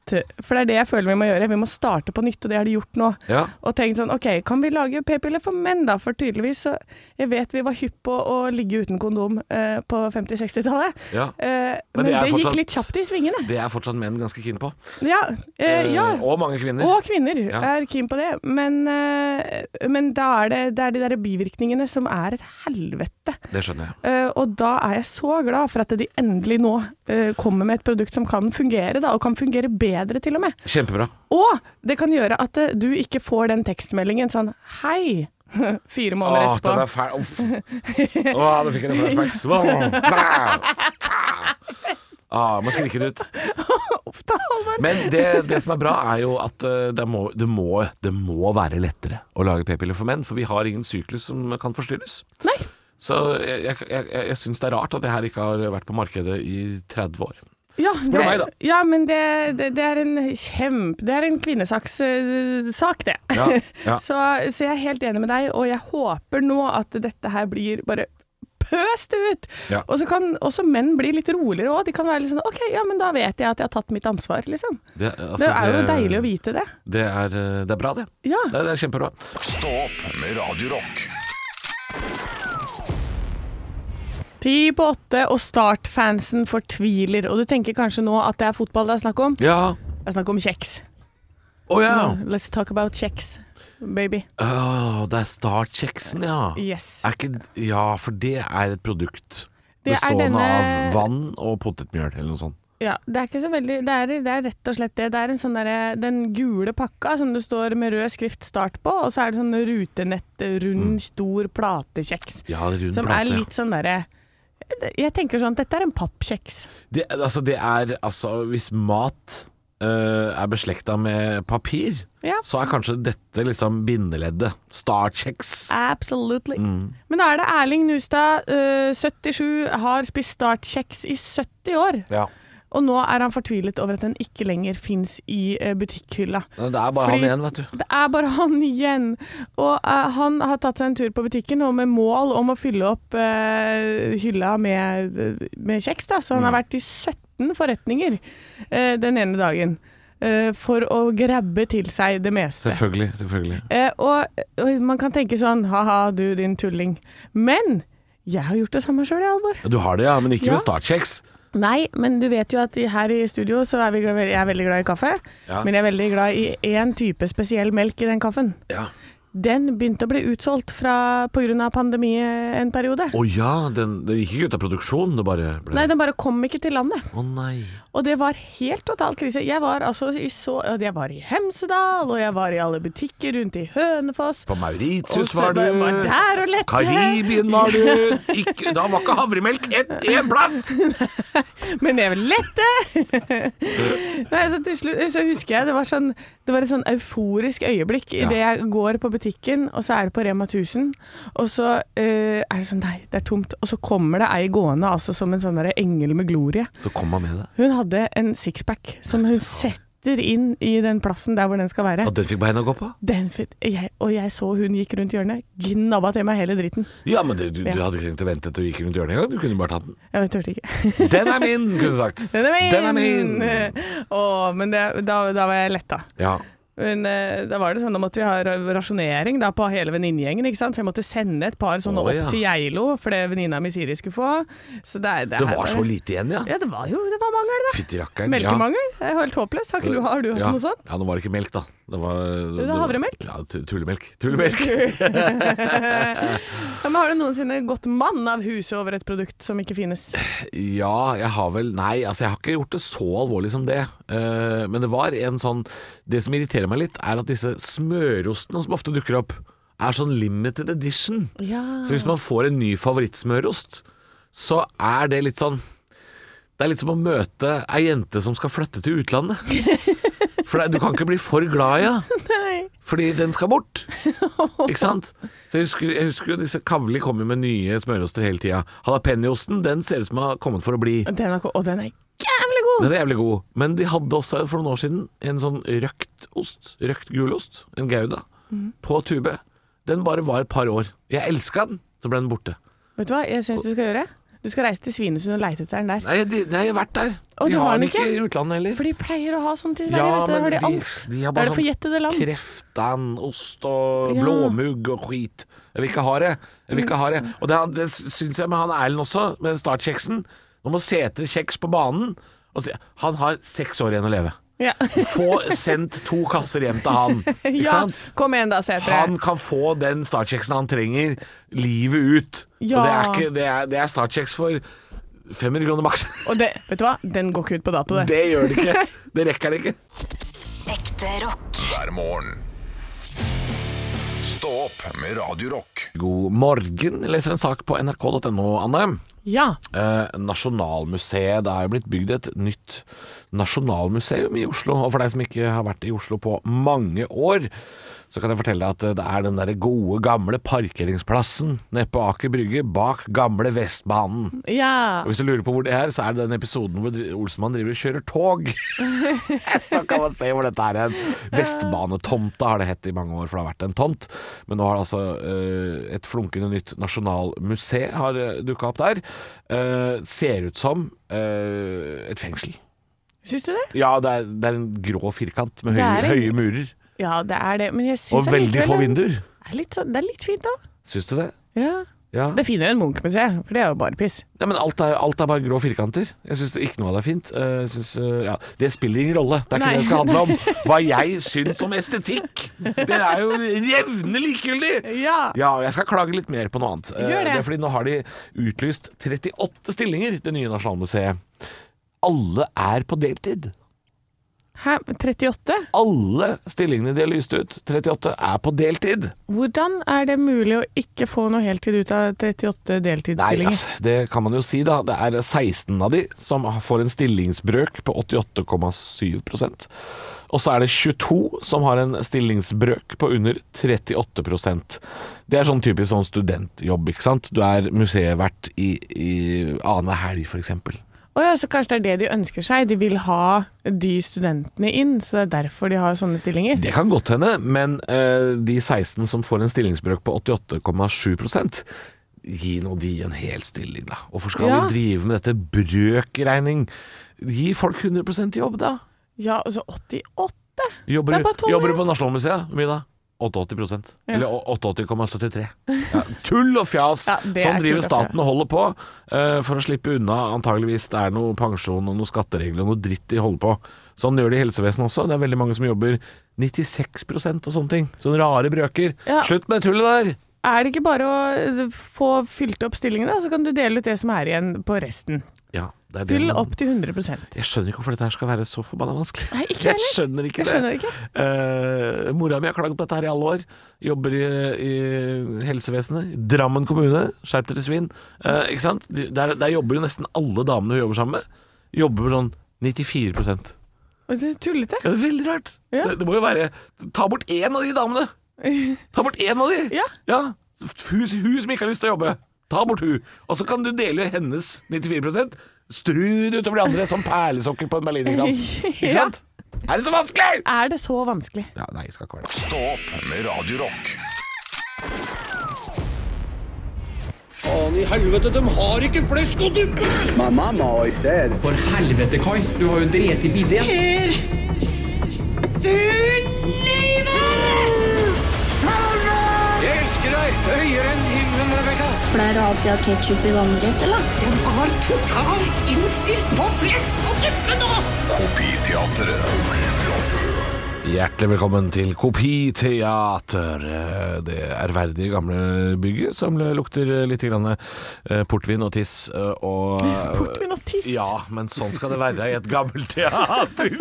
[SPEAKER 4] for det er det jeg føler vi må gjøre, vi må starte på nytt, og det har de gjort nå.
[SPEAKER 3] Ja.
[SPEAKER 4] Og tenkt sånn, ok, kan vi lage p-piller for menn da? For tydeligvis så, jeg vet vi var hypp på å ligge uten kondom eh, på 50-60-tallet.
[SPEAKER 3] Ja.
[SPEAKER 4] Eh,
[SPEAKER 3] Men
[SPEAKER 4] men
[SPEAKER 3] det
[SPEAKER 4] det,
[SPEAKER 3] er fortsatt-
[SPEAKER 4] gikk litt kjapt i svingene.
[SPEAKER 3] Det er fortsatt menn ganske keen på.
[SPEAKER 4] Ja, eh, ja.
[SPEAKER 3] Eh, Og mange kvinner.
[SPEAKER 4] Og kvinner
[SPEAKER 3] Ja.
[SPEAKER 4] er keen på det, men, eh, men da er det, det er de der bivirkningene som er et helvete.
[SPEAKER 3] Det skjønner jeg.
[SPEAKER 4] Eh, og da er jeg så glad for at de endelig nå eh, kommer med et produkt som kan fungere, da, og kan fungere bedre til og med.
[SPEAKER 3] Kjempebra.
[SPEAKER 4] Og det kan gjøre at eh, du ikke får den tekstmeldingen sånn Hei! Fire måneder
[SPEAKER 3] Åh, den
[SPEAKER 4] etterpå.
[SPEAKER 3] er fæl. Uff. Åh, nå fikk jeg noen flashbacks. Ah, må skrike det ut.
[SPEAKER 4] Uff da, Halvard.
[SPEAKER 3] Men det, det som er bra, er jo at eh, det må, det må, det må være lettere å lage p-piller for menn. For vi har ingen syklus som kan forstyrres.
[SPEAKER 4] Nei.
[SPEAKER 3] Så jeg, jeg, jeg, jeg syns det er rart at det her ikke har vært på markedet i 30 år.
[SPEAKER 4] Ja, det,
[SPEAKER 3] meg, da.
[SPEAKER 4] ja, men det, det, det er en kjempe... Det er en kvinnesakssak, det.
[SPEAKER 3] Ja, ja.
[SPEAKER 4] så, så jeg er helt enig med deg, og jeg håper nå at dette her blir bare pøst ut!
[SPEAKER 3] Ja.
[SPEAKER 4] Og så kan også menn bli litt roligere òg. De kan være litt sånn OK, ja, men da vet jeg at jeg har tatt mitt ansvar, liksom.
[SPEAKER 3] Det, altså,
[SPEAKER 4] det er jo deilig å vite det.
[SPEAKER 3] Det er, eh, det er bra, det.
[SPEAKER 4] Ja.
[SPEAKER 3] Det, er- det er kjempebra.
[SPEAKER 2] Stå opp med Radio Rock.
[SPEAKER 4] Ti på åtte, og Start-fansen fortviler. Og du tenker kanskje nå at det er fotball det er snakk om?
[SPEAKER 3] Ja.
[SPEAKER 4] Det er snakk om kjeks.
[SPEAKER 3] Å ja.
[SPEAKER 4] Let's talk about kjeks, baby.
[SPEAKER 3] Åh, det er startkjeksen, ja.
[SPEAKER 4] Yes.
[SPEAKER 3] Er ikke, ja, for det er et produkt
[SPEAKER 4] Det er
[SPEAKER 3] bestående
[SPEAKER 4] denne-
[SPEAKER 3] av vann og potetmjøl eller noe sånt.
[SPEAKER 4] Ja, det er ikke så veldig Det er, det er rett og slett det. Det er en sånn derre Den gule pakka som det står med rød skrift 'Start' på, og så er det sånn rutenett, rund, stor platekjeks.
[SPEAKER 3] Mm. Ja, det er rund
[SPEAKER 4] som
[SPEAKER 3] plate,
[SPEAKER 4] er litt sånn derre Jeg tenker sånn Dette er en pappkjeks.
[SPEAKER 3] Det, altså, det er altså Hvis mat øh, er beslekta med papir,
[SPEAKER 4] Ja.
[SPEAKER 3] så er kanskje dette liksom bindeleddet. Starkjeks.
[SPEAKER 4] Absolutely.
[SPEAKER 3] Mm.
[SPEAKER 4] Men da er det øh, Erling Nustad, eh, 77, har spist Start-kjeks i 70 år.
[SPEAKER 3] Ja.
[SPEAKER 4] Og nå er han fortvilet over at den ikke lenger fins i eh, butikkhylla.
[SPEAKER 3] Det er bare
[SPEAKER 4] Fordi-
[SPEAKER 3] han igjen, vet du.
[SPEAKER 4] Det er bare han igjen. Og eh, han har tatt seg en tur på butikken og med mål om å fylle opp eh, hylla med, med kjeks. Da. Så han har vært i 17 forretninger eh, den ene dagen eh, for å grabbe til seg det meste.
[SPEAKER 3] Selvfølgelig. selvfølgelig.
[SPEAKER 4] Eh, og, og man kan tenke sånn ha-ha, du din tulling. Men jeg har gjort det samme sjøl, Alvor.
[SPEAKER 3] Du har det, ja, men ikke
[SPEAKER 4] Ja.
[SPEAKER 3] med startkjeks.
[SPEAKER 4] Nei, men du vet jo at i- her i studio så er vi, jeg er veldig glad i kaffe.
[SPEAKER 3] Ja.
[SPEAKER 4] Men jeg er veldig glad i én type spesiell melk i den kaffen.
[SPEAKER 3] Ja.
[SPEAKER 4] Den begynte å bli utsolgt fra, på grunn av pandemi en periode.
[SPEAKER 3] Å ja, den, den gikk ikke ut av produksjon, det bare ble
[SPEAKER 4] Nei, den bare kom ikke til landet.
[SPEAKER 3] Å nei.
[SPEAKER 4] Og det var helt totalt krise. Jeg var altså i så og Jeg var i Hemsedal, og jeg var i alle butikker rundt i Hønefoss.
[SPEAKER 3] På
[SPEAKER 4] Og
[SPEAKER 3] Mauritius
[SPEAKER 4] så
[SPEAKER 3] var du.
[SPEAKER 4] var- var der og lette.
[SPEAKER 3] Karibien var du. Ikke, da var ikke havremelk ett én plass!
[SPEAKER 4] Men jeg vil lette! Nei, så til slutt så husker jeg det var, sånn, det var et sånn euforisk øyeblikk
[SPEAKER 3] Ja.
[SPEAKER 4] idet jeg går på butikken, og så er det på Rema 1000, og så eh, er det sånn Nei, det er tomt. Og så kommer det ei gående altså som en sånn derre engel med glorie.
[SPEAKER 3] Så kom han med det.
[SPEAKER 4] Hun hadde en sixpack som hun setter inn i den plassen der hvor den skal være.
[SPEAKER 3] Og den fikk beina å gå på?
[SPEAKER 4] Den fit, jeg, og jeg så hun gikk rundt hjørnet, gnabba til meg hele dritten.
[SPEAKER 3] Ja, men du, du, du
[SPEAKER 4] Ja.
[SPEAKER 3] hadde ikke trengt å vente til du gikk rundt hjørnet engang. Du kunne bare tatt den.
[SPEAKER 4] Jeg turte ikke.
[SPEAKER 3] Den er min, kunne du sagt.
[SPEAKER 4] Den er min!
[SPEAKER 3] Den er min!
[SPEAKER 4] Å, men det, da, da var jeg letta.
[SPEAKER 3] Ja.
[SPEAKER 4] Men eh, da var det sånn, da måtte vi ha ra- rasjonering da, på hele venninnegjengen, ikke sant? Så jeg måtte sende et par sånne
[SPEAKER 3] Å, ja.
[SPEAKER 4] opp til Geilo, for det venninna mi Siri skulle få. Så det, er- det
[SPEAKER 3] Det
[SPEAKER 4] her
[SPEAKER 3] var så lite igjen, ja.
[SPEAKER 4] Ja, det var jo det var mangel, da.
[SPEAKER 3] Fytti rakkeren.
[SPEAKER 4] Melkemangel. Det er helt håpløst. Har, ikke du, har du hatt
[SPEAKER 3] ja.
[SPEAKER 4] noe sånt?
[SPEAKER 3] Ja, nå var det ikke melk, da. Det var, det var-
[SPEAKER 4] havremelk?
[SPEAKER 3] Ja, tu- tullemelk. Tullemelk.
[SPEAKER 4] Ja, men har du noensinne gått mann av huset over et produkt som ikke finnes?
[SPEAKER 3] Ja, jeg har vel Nei, altså jeg har ikke gjort det så alvorlig som det. Eh, men det var en sånn Det som irriterer meg litt, er at disse smørostene som ofte dukker opp, er sånn limited edition.
[SPEAKER 4] Ja.
[SPEAKER 3] Så hvis man får en ny favorittsmørost, så er det litt sånn Det er litt som å møte ei jente som skal flytte til utlandet. For det, du kan ikke bli for glad i henne,
[SPEAKER 4] Nei.
[SPEAKER 3] fordi den skal bort. Ikke sant? Så jeg husker, jeg husker jo disse Kavli kommer med nye smøroster hele tida. Jalapeñoosten, den ser ut som den har kommet for å bli.
[SPEAKER 4] Den er, ko- og den er jævlig god!
[SPEAKER 3] Den er jævlig god. Men de hadde også for noen år siden en sånn røkt ost. Røkt gulost. En gouda. På tube. Den bare var et par år. Jeg elska den, så ble den borte.
[SPEAKER 4] Vet du hva jeg syns du skal gjøre? Du skal reise til Svinesund og leite etter den der.
[SPEAKER 3] Nei, de, nei jeg har vært der.
[SPEAKER 4] Å, du
[SPEAKER 3] de
[SPEAKER 4] har
[SPEAKER 3] har
[SPEAKER 4] den
[SPEAKER 3] den ikke
[SPEAKER 4] ikke?
[SPEAKER 3] i utlandet heller.
[SPEAKER 4] For de pleier å ha sånn til Sverige, vet du. Der har de alt.
[SPEAKER 3] de har
[SPEAKER 4] Da er
[SPEAKER 3] bare
[SPEAKER 4] det forjettede
[SPEAKER 3] sånn
[SPEAKER 4] land.
[SPEAKER 3] kreftan, ost og
[SPEAKER 4] Ja.
[SPEAKER 3] blåmugg og skit. Jeg vil ikke ha det. Jeg vil ikke ha det.
[SPEAKER 4] Mm.
[SPEAKER 3] Og det, det syns jeg med han Erlend også, med startkjeksen. Nå må sete kjeks på banen. Og se, han har seks år igjen å leve.
[SPEAKER 4] Ja.
[SPEAKER 3] Få sendt to kasser hjem til han. Ikke
[SPEAKER 4] ja.
[SPEAKER 3] sant?
[SPEAKER 4] Kom igjen da, Sætre.
[SPEAKER 3] Han kan få den startkjeksen han trenger livet ut.
[SPEAKER 4] Ja.
[SPEAKER 3] Og det er, ikke, det, er, det er startkjeks for 500 kroner maks.
[SPEAKER 4] Og det, vet du hva, den går ikke ut på dato, det.
[SPEAKER 3] Det gjør det ikke. Det rekker det ikke.
[SPEAKER 1] Ekte rock.
[SPEAKER 2] hver morgen. Stå opp med Radio Rock.
[SPEAKER 3] God morgen. Jeg leser en sak på nrk.no, Anne.
[SPEAKER 4] Ja.
[SPEAKER 3] Eh, Nasjonalmuseet. Det er jo blitt bygd et nytt nasjonalmuseum i Oslo. Og for deg som ikke har vært i Oslo på mange år, så kan jeg fortelle deg at eh, det er den derre gode, gamle parkeringsplassen nede på Aker Brygge, bak gamle Vestbanen.
[SPEAKER 4] ja.
[SPEAKER 3] Og hvis du lurer på hvor det er, så er det den episoden hvor dri- Olsenmann driver og kjører tog. så kan man se hvor dette er hen. Vestbanetomta har det hett i mange år, for det har vært en tomt. Men nå har det altså eh, et flunkende nytt nasjonalmuseum har uh, dukka opp der. Eh, ser ut som eh, et fengsel.
[SPEAKER 4] Syns du det?
[SPEAKER 3] Ja, det er, det er en grå firkant med
[SPEAKER 4] Det
[SPEAKER 3] høye,
[SPEAKER 4] er en-
[SPEAKER 3] høye murer.
[SPEAKER 4] Ja, det er det. Men jeg syns
[SPEAKER 3] Og veldig få vinduer.
[SPEAKER 4] Det er litt, sånn- det er litt fint, da.
[SPEAKER 3] Syns du det?
[SPEAKER 4] Ja.
[SPEAKER 3] Ja.
[SPEAKER 4] Det er finere enn Munch-museet, for det er jo bare piss.
[SPEAKER 3] Nei, men alt er, alt er bare grå firkanter. Jeg syns ikke noe av det er fint. Eh, Jeg synes, eh, ja, det spiller ingen rolle. Det er ikke
[SPEAKER 4] Nei.
[SPEAKER 3] det det skal handle om. Hva jeg syns om estetikk! Det er jo jevne likegyldig!
[SPEAKER 4] Ja.
[SPEAKER 3] Ja, og jeg skal klage litt mer på noe annet. Eh,
[SPEAKER 4] Gjør det.
[SPEAKER 3] det er fordi nå har de utlyst 38 stillinger, det nye Nasjonalmuseet. Alle er på deltid.
[SPEAKER 4] Hæ, 38?
[SPEAKER 3] Alle stillingene de har lyst ut, 38, er på deltid.
[SPEAKER 4] Hvordan er det mulig å ikke få noe heltid ut av 38
[SPEAKER 3] Nei,
[SPEAKER 4] deltidsstillinger?
[SPEAKER 3] altså, det kan man jo si, da. Det er 16 av de som får en stillingsbrøk på 88,7 Og så er det 22 som har en stillingsbrøk på under 38 Det er sånn typisk sånn studentjobb, ikke sant. Du er museevert i, i annenhver helg, f.eks.
[SPEAKER 4] Å ja, så kanskje det er det de ønsker seg. De vil ha de studentene inn, så det er derfor de har sånne stillinger.
[SPEAKER 3] Det kan godt hende, men eh, de 16 som får en stillingsbrøk på 88,7 Gi nå de en hel stilling, da. Hvorfor skal
[SPEAKER 4] Ja.
[SPEAKER 3] vi drive med dette brøkregning? Gi folk 100 jobb, da.
[SPEAKER 4] Ja, altså 88?
[SPEAKER 3] Jobber,
[SPEAKER 4] Det er bare
[SPEAKER 3] du-
[SPEAKER 4] tolv,
[SPEAKER 3] jobber du på Nasjonalmuseet? Hvor mye da? 88 Eller å- 88,73. Ja, tull og fjas!
[SPEAKER 4] Ja, det er
[SPEAKER 3] sånn driver
[SPEAKER 4] tull og
[SPEAKER 3] staten og holder på eh, for å slippe unna. Antageligvis det er noe pensjon og noen skatteregler og noe dritt de holder på. Sånn gjør det i helsevesenet også. Det er veldig mange som jobber 96 og sånne ting. Sånne rare brøker.
[SPEAKER 4] Ja.
[SPEAKER 3] Slutt med det tullet der!
[SPEAKER 4] Er det ikke bare å eh, få fylt opp stillingene, så kan du dele ut det som er igjen på resten?
[SPEAKER 3] Ja, det er det
[SPEAKER 4] Fyll
[SPEAKER 3] man-
[SPEAKER 4] opp til 100
[SPEAKER 3] Jeg skjønner ikke hvorfor dette her skal være så forbanna vanskelig.
[SPEAKER 4] Nei, ikke
[SPEAKER 3] jeg
[SPEAKER 4] heller.
[SPEAKER 3] skjønner ikke
[SPEAKER 4] Jeg
[SPEAKER 3] det.
[SPEAKER 4] skjønner ikke.
[SPEAKER 3] Eh, mora mi har klaget på dette her i alle år. Jobber i, i helsevesenet. Drammen kommune. Skjerp dere, svin. Eh, ikke sant? De- Der, der jobber jo nesten alle damene hun jobber sammen med. Jobber sånn 94 ja,
[SPEAKER 4] Og det er Tullete.
[SPEAKER 3] Det er veldig rart.
[SPEAKER 4] Ja.
[SPEAKER 3] Det, det må jo være Ta bort én av de damene! Ta bort én av de!
[SPEAKER 4] Ja.
[SPEAKER 3] Hun, hun som ikke har lyst til å jobbe. Ta bort hun. Og så kan du dele hennes 94 Stru det utover de andre som perlesokker på en berlinerkrans. Ikke
[SPEAKER 4] Ja.
[SPEAKER 3] sant? Er det så vanskelig?!
[SPEAKER 4] Er det så vanskelig?
[SPEAKER 3] Ja, nei, skal ikke være det.
[SPEAKER 2] Stå opp med Radio Rock.
[SPEAKER 7] Faen i helvete, de har ikke flesk og duppe!
[SPEAKER 8] My mom always said,
[SPEAKER 7] For helvete, Kai. Du har jo drept i bidé. Jeg elsker deg høyere enn himmelen, Rebekka.
[SPEAKER 9] Pleier du alltid å ha ketsjup i vannrett, eller?
[SPEAKER 2] Kopiteatret.
[SPEAKER 3] Hjertelig velkommen til Kopiteater. Eh, Det ærverdige gamle bygget som lukter litt grann eh, portvin og tiss eh, og
[SPEAKER 4] Portvin og tiss?
[SPEAKER 3] Ja, men sånn skal det være i et gammelt teater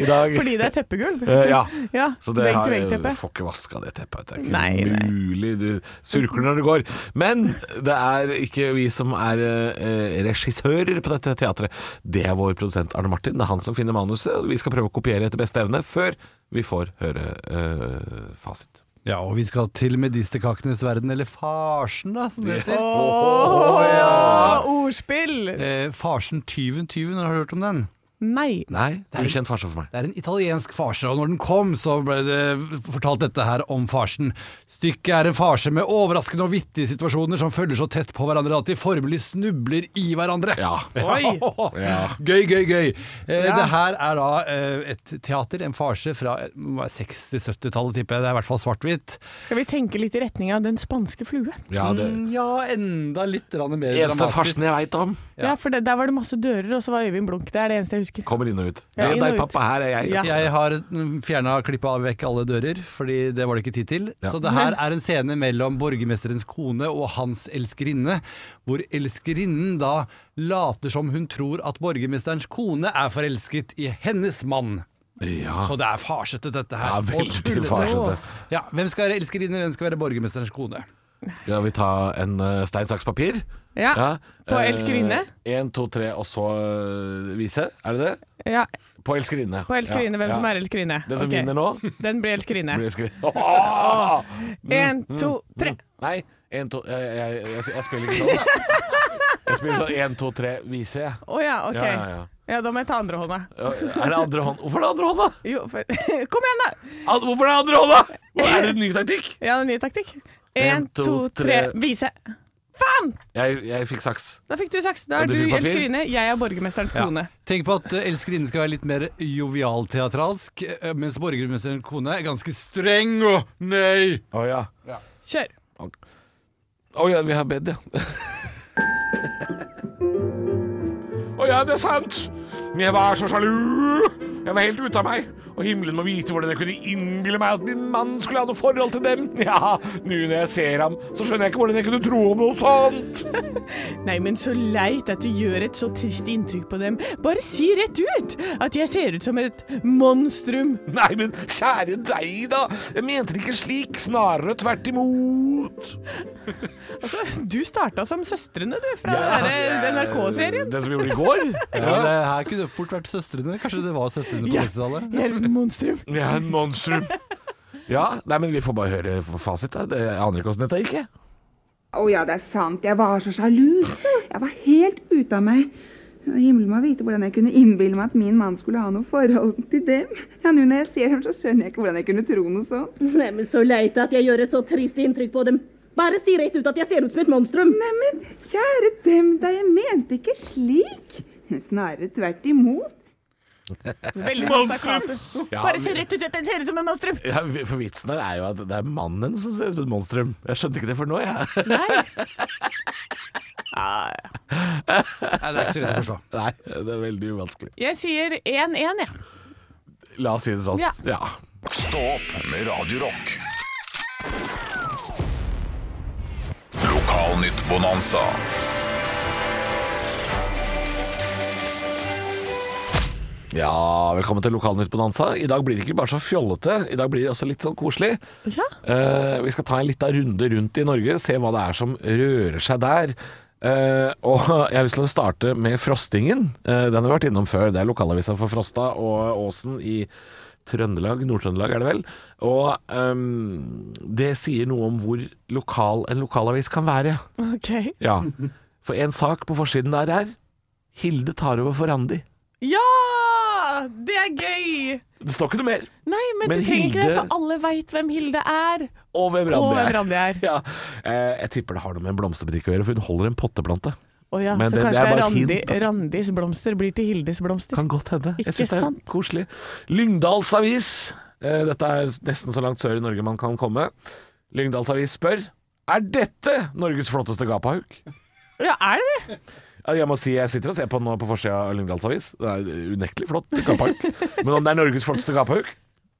[SPEAKER 3] i dag.
[SPEAKER 4] Fordi det er teppegulv?
[SPEAKER 3] Eh, ja.
[SPEAKER 4] Ja,
[SPEAKER 3] så det har,
[SPEAKER 4] vegg-til-vegg-teppe.
[SPEAKER 3] du får ikke vaska det teppet. Det er ikke
[SPEAKER 4] Nei, nei.
[SPEAKER 3] mulig. Du surkler når du går. Men det er ikke vi som er eh, regissører på dette teatret. Det er vår produsent Arne Martin. Det er han som finner manuset. og Vi skal prøve å kopiere etter beste evne før vi får høre eh, fasit.
[SPEAKER 10] Ja, og vi skal til medisterkakenes verden, eller farsen, da, som det heter.
[SPEAKER 4] Ja, ordspill!
[SPEAKER 10] Eh, farsen Tyven Tyven, har du hørt om den?
[SPEAKER 4] Nei.
[SPEAKER 3] Nei, ukjent farse for meg.
[SPEAKER 10] Det er en italiensk farse, og når den kom, så ble det fortalt dette her om farsen. Stykket er en farse med overraskende og vittige situasjoner som følger så tett på hverandre at de formelig snubler i hverandre.
[SPEAKER 3] Ja.
[SPEAKER 4] Oi.
[SPEAKER 10] Gøy, gøy, gøy. Eh, Det her er da eh, et teater, en farse fra eh, 60-70-tallet, tipper jeg. Det er i hvert fall svart-hvitt.
[SPEAKER 4] Skal vi tenke litt i retning av Den spanske flue?
[SPEAKER 3] ja det
[SPEAKER 10] Mm, ja, enda litt grann mer
[SPEAKER 3] eneste
[SPEAKER 10] dramatisk.
[SPEAKER 3] farsen jeg veit om,
[SPEAKER 4] Ja, for det, der var det masse dører, og så var Øyvind Blunk. Det er det eneste jeg husker.
[SPEAKER 3] kommer inn og ut.
[SPEAKER 4] Ja,
[SPEAKER 3] det er
[SPEAKER 4] inn og
[SPEAKER 3] deg,
[SPEAKER 4] ut.
[SPEAKER 3] pappa. Her er jeg.
[SPEAKER 4] Ja.
[SPEAKER 10] Jeg har fjerna klippet av vekk alle dører, fordi det var det ikke tid til. Så det her er en scene mellom borgermesterens kone og hans elskerinne, hvor elskerinnen da later som hun tror at borgermesterens kone er forelsket i hennes mann.
[SPEAKER 3] Ja.
[SPEAKER 10] Så det er farsete, dette her.
[SPEAKER 3] Ah. Ja,
[SPEAKER 10] Og
[SPEAKER 3] veldig
[SPEAKER 10] tullete.
[SPEAKER 3] farsete.
[SPEAKER 10] Ja, hvem skal være elskerinne, hvem skal være borgermesterens kone?
[SPEAKER 3] Skal vi ta en eh, stein, saks, papir?
[SPEAKER 4] Ja. Ah, På
[SPEAKER 3] eh,
[SPEAKER 4] elskerinne?
[SPEAKER 3] En, to, tre, og så eh, vise. Er det det?
[SPEAKER 4] Ja,
[SPEAKER 3] På elskerinne.
[SPEAKER 4] på elskerinne, hvem som er elskerinne.
[SPEAKER 3] Den som
[SPEAKER 4] Ok.
[SPEAKER 3] vinner nå,
[SPEAKER 4] Den blir elskerinne.
[SPEAKER 3] blir Mm, elskerinne. Åh!
[SPEAKER 4] Én, to, tre.
[SPEAKER 3] Nei, en, to jeg, jeg, jeg, jeg spiller ikke sånn. Jeg spiller sånn én, to, tre, vise. jeg.
[SPEAKER 4] Å ja, OK.
[SPEAKER 3] Ja, ja, ja.
[SPEAKER 4] Ja, da må jeg ta andre hånda.
[SPEAKER 3] Er det andre hånd? Hvorfor er det andre hånda?
[SPEAKER 4] Jo, for Kom igjen, da!
[SPEAKER 3] Ad- Hvorfor er det andre hånda? Hvor er det en ny taktikk?
[SPEAKER 4] Ja, det er ny taktikk.
[SPEAKER 3] En,
[SPEAKER 4] Én,
[SPEAKER 3] to,
[SPEAKER 4] to, tre,
[SPEAKER 3] tre.
[SPEAKER 4] vise. Faen!
[SPEAKER 3] Jeg, jeg fikk saks.
[SPEAKER 4] Da fikk du saks. Da
[SPEAKER 3] Og
[SPEAKER 4] er
[SPEAKER 3] du
[SPEAKER 4] du,
[SPEAKER 3] fikk papir?
[SPEAKER 4] elskerinne, jeg er borgermesterens kone.
[SPEAKER 10] Tenk på at eh, elskerinnen skal være litt mer jovialteatralsk, eh, mens borgermesterens kone er ganske streng og nei.
[SPEAKER 3] Å ja.
[SPEAKER 4] Kjør.
[SPEAKER 3] Å ja, vi har bedt, ja. Å ja, det er sant. Men jeg var så sjalu. Jeg var helt ute av meg. Og himmelen må vite hvordan jeg kunne innbille meg at min mann skulle ha noe forhold til dem. Ja, nå når jeg ser ham, så skjønner jeg ikke hvordan jeg kunne tro noe sånt.
[SPEAKER 4] Nei, men så leit at du gjør et så trist inntrykk på dem. Bare si rett ut at jeg ser ut som et monstrum.
[SPEAKER 3] Nei, men kjære deg, da. Jeg mente det ikke slik. Snarere tvert imot.
[SPEAKER 4] Altså, du starta som søstrene, du, fra den der NRK-serien.
[SPEAKER 3] Den som gjorde det i går?
[SPEAKER 10] Ja, det her kunne fort vært søstrene. Kanskje det var søstrene på
[SPEAKER 4] Ja.
[SPEAKER 10] 60-tallet?
[SPEAKER 4] Jeg er et monstrum.
[SPEAKER 3] Jeg er en monstrum. Ja, nei, men vi får bare høre fasit. da. Det- Jeg aner ikke åssen dette gikk, jeg.
[SPEAKER 11] Å ja, det er sant. Jeg var så sjalu. Jeg var helt ute av meg.
[SPEAKER 8] Himmel må vite hvordan jeg kunne innbille meg at min mann skulle ha noe forhold til dem. Ja, Nå når jeg ser dem, så skjønner jeg ikke hvordan jeg kunne tro noe sånt.
[SPEAKER 11] Neimen, så leit at jeg gjør et så trist inntrykk på dem. Bare si rett ut at jeg ser ut som et monstrum.
[SPEAKER 8] Neimen, kjære dem da, jeg mente ikke slik. Snarere tvert imot.
[SPEAKER 4] Veldig sånn stakkato. Bare se rett ut at den ser ut som en monstrum!
[SPEAKER 3] Ja, for vitsen der er jo at det er mannen som ser ut som et monstrum. Jeg skjønte ikke det for nå, jeg.
[SPEAKER 10] Nei, det er ikke så lett å forstå.
[SPEAKER 3] Nei, det er veldig uvanskelig.
[SPEAKER 4] Jeg sier 1-1, jeg.
[SPEAKER 3] La oss si det sånn.
[SPEAKER 4] Ja.
[SPEAKER 2] Stå opp med Radio Rock. Lokalnytt Bonanza.
[SPEAKER 3] ja, velkommen til Lokalnytt på Dansa. I dag blir det ikke bare så fjollete, i dag blir det også litt sånn koselig.
[SPEAKER 4] Ja.
[SPEAKER 3] Eh, vi skal ta en liten runde rundt i Norge, se hva det er som rører seg der. Eh, og jeg har lyst til å starte med Frostingen. Eh, den har vi vært innom før. Det er lokalavisa for Frosta og Åsen i Trøndelag, Nord-Trøndelag er det vel. Og ehm, det sier noe om hvor lokal en lokalavis kan være.
[SPEAKER 4] OK.
[SPEAKER 3] Ja. For en sak på forsiden der er Hilde tar over for Randi.
[SPEAKER 4] Ja! Det er gøy!
[SPEAKER 3] Det står ikke noe mer.
[SPEAKER 4] Nei, men,
[SPEAKER 3] Men
[SPEAKER 4] du trenger ikke det,
[SPEAKER 3] Hilde-
[SPEAKER 4] for alle veit hvem Hilde er.
[SPEAKER 3] Og hvem
[SPEAKER 4] Og
[SPEAKER 3] Randi
[SPEAKER 4] hvem
[SPEAKER 3] er.
[SPEAKER 4] Randi er.
[SPEAKER 3] Ja. Eh, jeg tipper det har noe med en blomsterbutikk å gjøre, for hun holder en potteplante.
[SPEAKER 4] Å ja,
[SPEAKER 3] Men
[SPEAKER 4] så
[SPEAKER 3] det- det
[SPEAKER 4] kanskje
[SPEAKER 3] er
[SPEAKER 4] det er,
[SPEAKER 3] bare et
[SPEAKER 4] Randi,
[SPEAKER 3] hint, da.
[SPEAKER 4] Randis blomster blir til Hildes blomster.
[SPEAKER 3] Kan godt hende.
[SPEAKER 4] Ikke
[SPEAKER 3] Jeg syns det er
[SPEAKER 4] sant?
[SPEAKER 3] koselig. Lyngdals Avis. Eh, dette er nesten så langt sør i Norge man kan komme. Lyngdals Avis spør Er dette Norges flotteste gapahauk.
[SPEAKER 4] Ja, er det det?
[SPEAKER 3] Ja, Jeg må si jeg sitter og ser på den nå på forsida av Lyngdals Avis. Det er unektelig flott gapahauk. Men om det er Norges flotteste gapahauk?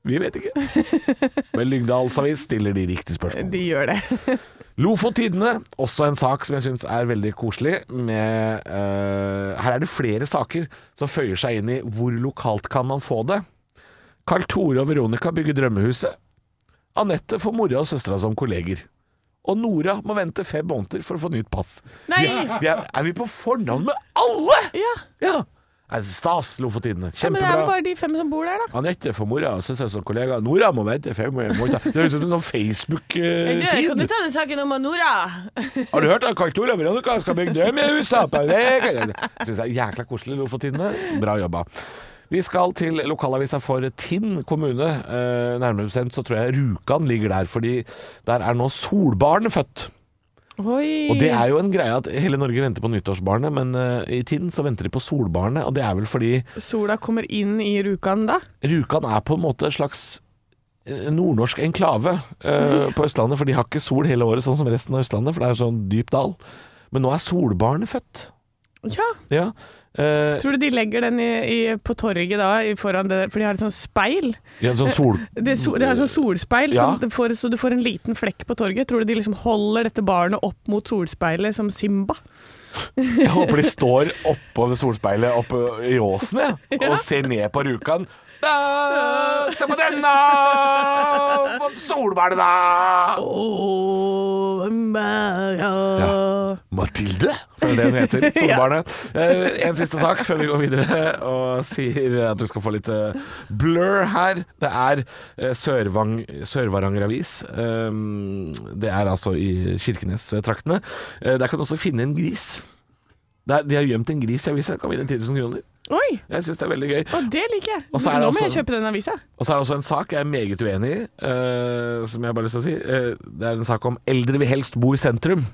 [SPEAKER 3] Vi vet ikke. Men Lyngdals Avis stiller de riktige spørsmålene.
[SPEAKER 4] De gjør det.
[SPEAKER 3] Lofotidene, også en sak som jeg syns er veldig koselig. Med, eh, her er det flere saker som føyer seg inn i hvor lokalt kan man få det. Carl Tore og Veronica bygger drømmehuset. Anette får mora og søstera som kolleger. Og Nora må vente fem måneder for å få nytt pass.
[SPEAKER 4] Nei!
[SPEAKER 3] Vi er, vi er, er vi på fornavn med alle?!
[SPEAKER 4] Ja,
[SPEAKER 3] Ja! Er det stas, Lofotidene.
[SPEAKER 4] ja Men det er jo
[SPEAKER 3] Kjempebra.
[SPEAKER 4] bare de fem som bor der, da.
[SPEAKER 3] Anette får mora og søstera som kolleger. Nora må vente fem måneder. Det høres ut som en sånn Eh, Facebook-feed.
[SPEAKER 4] ta den saken om Nora?
[SPEAKER 3] Har du hørt at Karl Tore Veronica skal bygge drømmehuset oppe i veggen? Jeg Syns det er jækla koselig Lofotidene. Bra jobba. Vi skal til lokalavisa for Tinn kommune. Eh, nærmere bestemt så tror jeg Rjukan ligger der, fordi der er nå Solbarn født.
[SPEAKER 4] Oi.
[SPEAKER 3] Og det er jo en greie at hele Norge venter på nyttårsbarnet, men eh, i Tinn så venter de på Solbarnet, og det er vel fordi
[SPEAKER 4] Sola kommer inn i Rjukan da?
[SPEAKER 3] Rjukan er på en måte en slags eh, nordnorsk enklave eh, på Østlandet, for de har ikke sol hele året, sånn som resten av Østlandet, for det er sånn dyp dal. Men nå er Solbarnet født.
[SPEAKER 4] Ja.
[SPEAKER 3] Ja. Eh,
[SPEAKER 4] Tror du de legger den i, i, på torget da, i foran det, for de har et sånt speil?
[SPEAKER 3] ja, en sånn sol...
[SPEAKER 4] Det, er so, det er sånn solspeil,
[SPEAKER 3] Ja.
[SPEAKER 4] som du får, så du får en liten flekk på torget. Tror du de liksom holder dette barnet opp mot solspeilet som Simba?
[SPEAKER 3] Jeg håper de står oppå ved solspeilet oppe i åsen ja, og ser ned på Rjukan. Da, Se på den, da! For Solbarnet, da!
[SPEAKER 4] Oh, ja.
[SPEAKER 3] Mathilde, for det er det hun heter. Solbarnet. Eh, En siste sak før vi går videre og sier at du skal få litt eh, blur her. Det er eh, Sørvang, Sør-Varanger Avis. Um, Det er altså i Kirkenes-traktene. Eh, Der kan du også finne en gris. Der, de har gjemt en gris i avisa. Kan vinne 10 000 kroner.
[SPEAKER 4] Oi,
[SPEAKER 3] Jeg syns det er veldig gøy.
[SPEAKER 4] og det liker jeg.
[SPEAKER 3] Og så er det
[SPEAKER 4] Nå må
[SPEAKER 3] også-
[SPEAKER 4] jeg kjøpe den avisa.
[SPEAKER 3] Og så er det også en sak jeg er meget uenig i, eh, som jeg bare har lyst til å si. Eh, det er en sak om eldre vil helst bo i sentrum.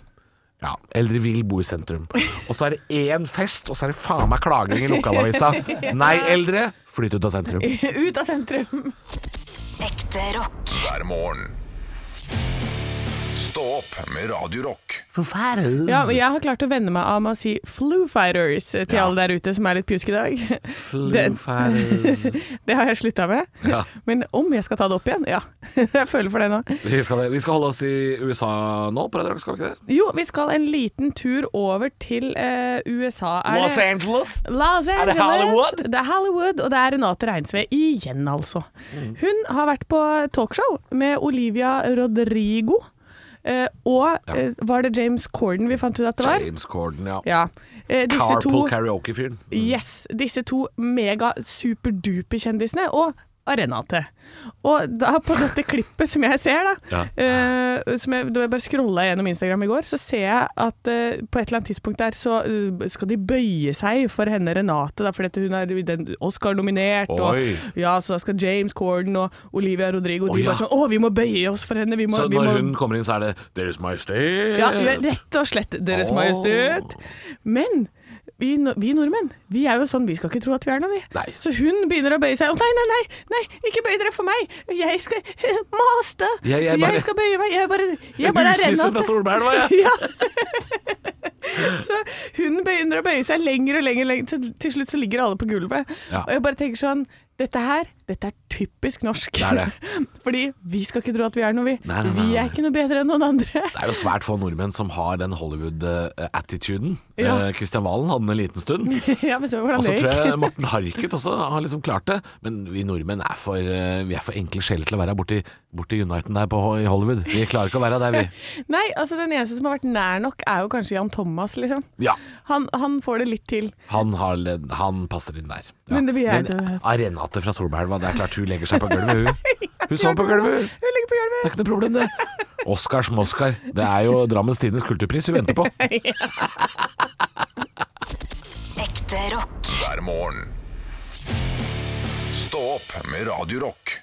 [SPEAKER 3] Ja, eldre vil bo i sentrum. Og så er det én fest, og så er det faen meg klaging i lokalavisa. Nei, eldre, flytt ut av sentrum.
[SPEAKER 4] Ut av sentrum.
[SPEAKER 1] Ekte rock.
[SPEAKER 2] hver morgen. Stå opp med Radio Rock.
[SPEAKER 4] Ja, men jeg har klart å venne meg av med å si Flu Fighters til alle der ute som er litt pjusk i dag. Det, det har jeg slutta med.
[SPEAKER 3] Ja.
[SPEAKER 4] Men om jeg skal ta det opp igjen? Ja. Jeg føler for det nå.
[SPEAKER 3] Vi skal, vi skal holde oss i USA nå, på Rødrak, skal vi ikke det?
[SPEAKER 4] Jo, vi skal en liten tur over til eh, USA. Er det-
[SPEAKER 3] Angeles?
[SPEAKER 4] Los Angeles.
[SPEAKER 3] Hollywood?
[SPEAKER 4] Det er Hollywood, og det er Renate Reinsve igjen, altså.
[SPEAKER 3] Mm.
[SPEAKER 4] Hun har vært på talkshow med Olivia Rodrigo. eh, og eh, var det James Corden vi fant ut at det var?
[SPEAKER 3] James Corden, ja.
[SPEAKER 4] Ja. Eh, disse to
[SPEAKER 3] Mm. Carpool karaoke-fyren.
[SPEAKER 4] Yes, disse to mega superduper kjendisene. Og av Renate. Og da på dette klippet som jeg ser, da, eh, som jeg, da jeg bare scrolla gjennom Instagram i går, så ser jeg at eh, på et eller annet tidspunkt der så eh, skal de bøye seg for henne Renate, da, fordi at hun er i den Oscar-nominert.
[SPEAKER 3] Oi.
[SPEAKER 4] Og ja, så da skal James Corden og Olivia Rodrigo
[SPEAKER 3] Å,
[SPEAKER 4] De
[SPEAKER 3] ja.
[SPEAKER 4] bare sånn Å, vi må bøye oss for henne! Vi må,
[SPEAKER 3] Så
[SPEAKER 4] vi
[SPEAKER 3] når
[SPEAKER 4] må
[SPEAKER 3] hun kommer inn, så er det 'There's my state'.
[SPEAKER 4] ja, ja, rett og slett, Deres
[SPEAKER 3] Åh.
[SPEAKER 4] Majestet. Men vi, no- vi nordmenn vi er jo sånn, vi skal ikke tro at vi er noe, vi.
[SPEAKER 3] Nei.
[SPEAKER 4] Så hun begynner å bøye seg. Å nei, nei, nei, nei, ikke bøy dere for meg! Jeg skal Maste!
[SPEAKER 3] Jeg- jeg bare-
[SPEAKER 4] skal bøye meg! Jeg bare, jeg bare er
[SPEAKER 3] Husnisse fra
[SPEAKER 4] Renate.
[SPEAKER 3] Solbergelva, jeg.
[SPEAKER 4] Ja. så hun begynner å bøye seg lenger og lenger, lenger. Til, til slutt så ligger alle på gulvet.
[SPEAKER 3] Ja.
[SPEAKER 4] Og jeg bare tenker sånn Dette her, dette er typisk norsk.
[SPEAKER 3] Det er
[SPEAKER 4] Fordi vi skal ikke tro at vi er noe, vi.
[SPEAKER 3] Nei, nei, nei,
[SPEAKER 4] Vi
[SPEAKER 3] nei.
[SPEAKER 4] er ikke noe bedre enn noen andre.
[SPEAKER 3] Det er jo svært få nordmenn som har den Hollywood-attituden.
[SPEAKER 4] Ja.
[SPEAKER 3] Kristian Valen hadde den en liten stund.
[SPEAKER 4] ja, men så hvordan
[SPEAKER 3] Og så
[SPEAKER 4] det
[SPEAKER 3] tror
[SPEAKER 4] gikk.
[SPEAKER 3] jeg Morten Harket også har liksom klart det. Men vi nordmenn er for, eh, vi er for enkle sjeler til å være borti, borti Uniten der på, i Hollywood. Vi klarer ikke å være der, vi.
[SPEAKER 4] Nei, altså den eneste som har vært nær nok, er jo kanskje Jan Thomas, liksom.
[SPEAKER 3] Ja,
[SPEAKER 4] Han, han får det litt til.
[SPEAKER 3] han, har, han passer inn der. Ja.
[SPEAKER 4] Men det blir jeg til-
[SPEAKER 3] ah, Renate fra Solbergelva, det er klart hun legger seg på gulvet, hun. Hun sov på gulvet, hun.
[SPEAKER 4] Hun ligger på
[SPEAKER 3] Det er
[SPEAKER 4] gulvet.
[SPEAKER 3] ikke noe problem, det. Oscars Moskar. Det er jo Drammens Tidendes kulturpris hun venter på.
[SPEAKER 1] Ekte rock.
[SPEAKER 2] hver morgen. Stå opp med Radio Rock.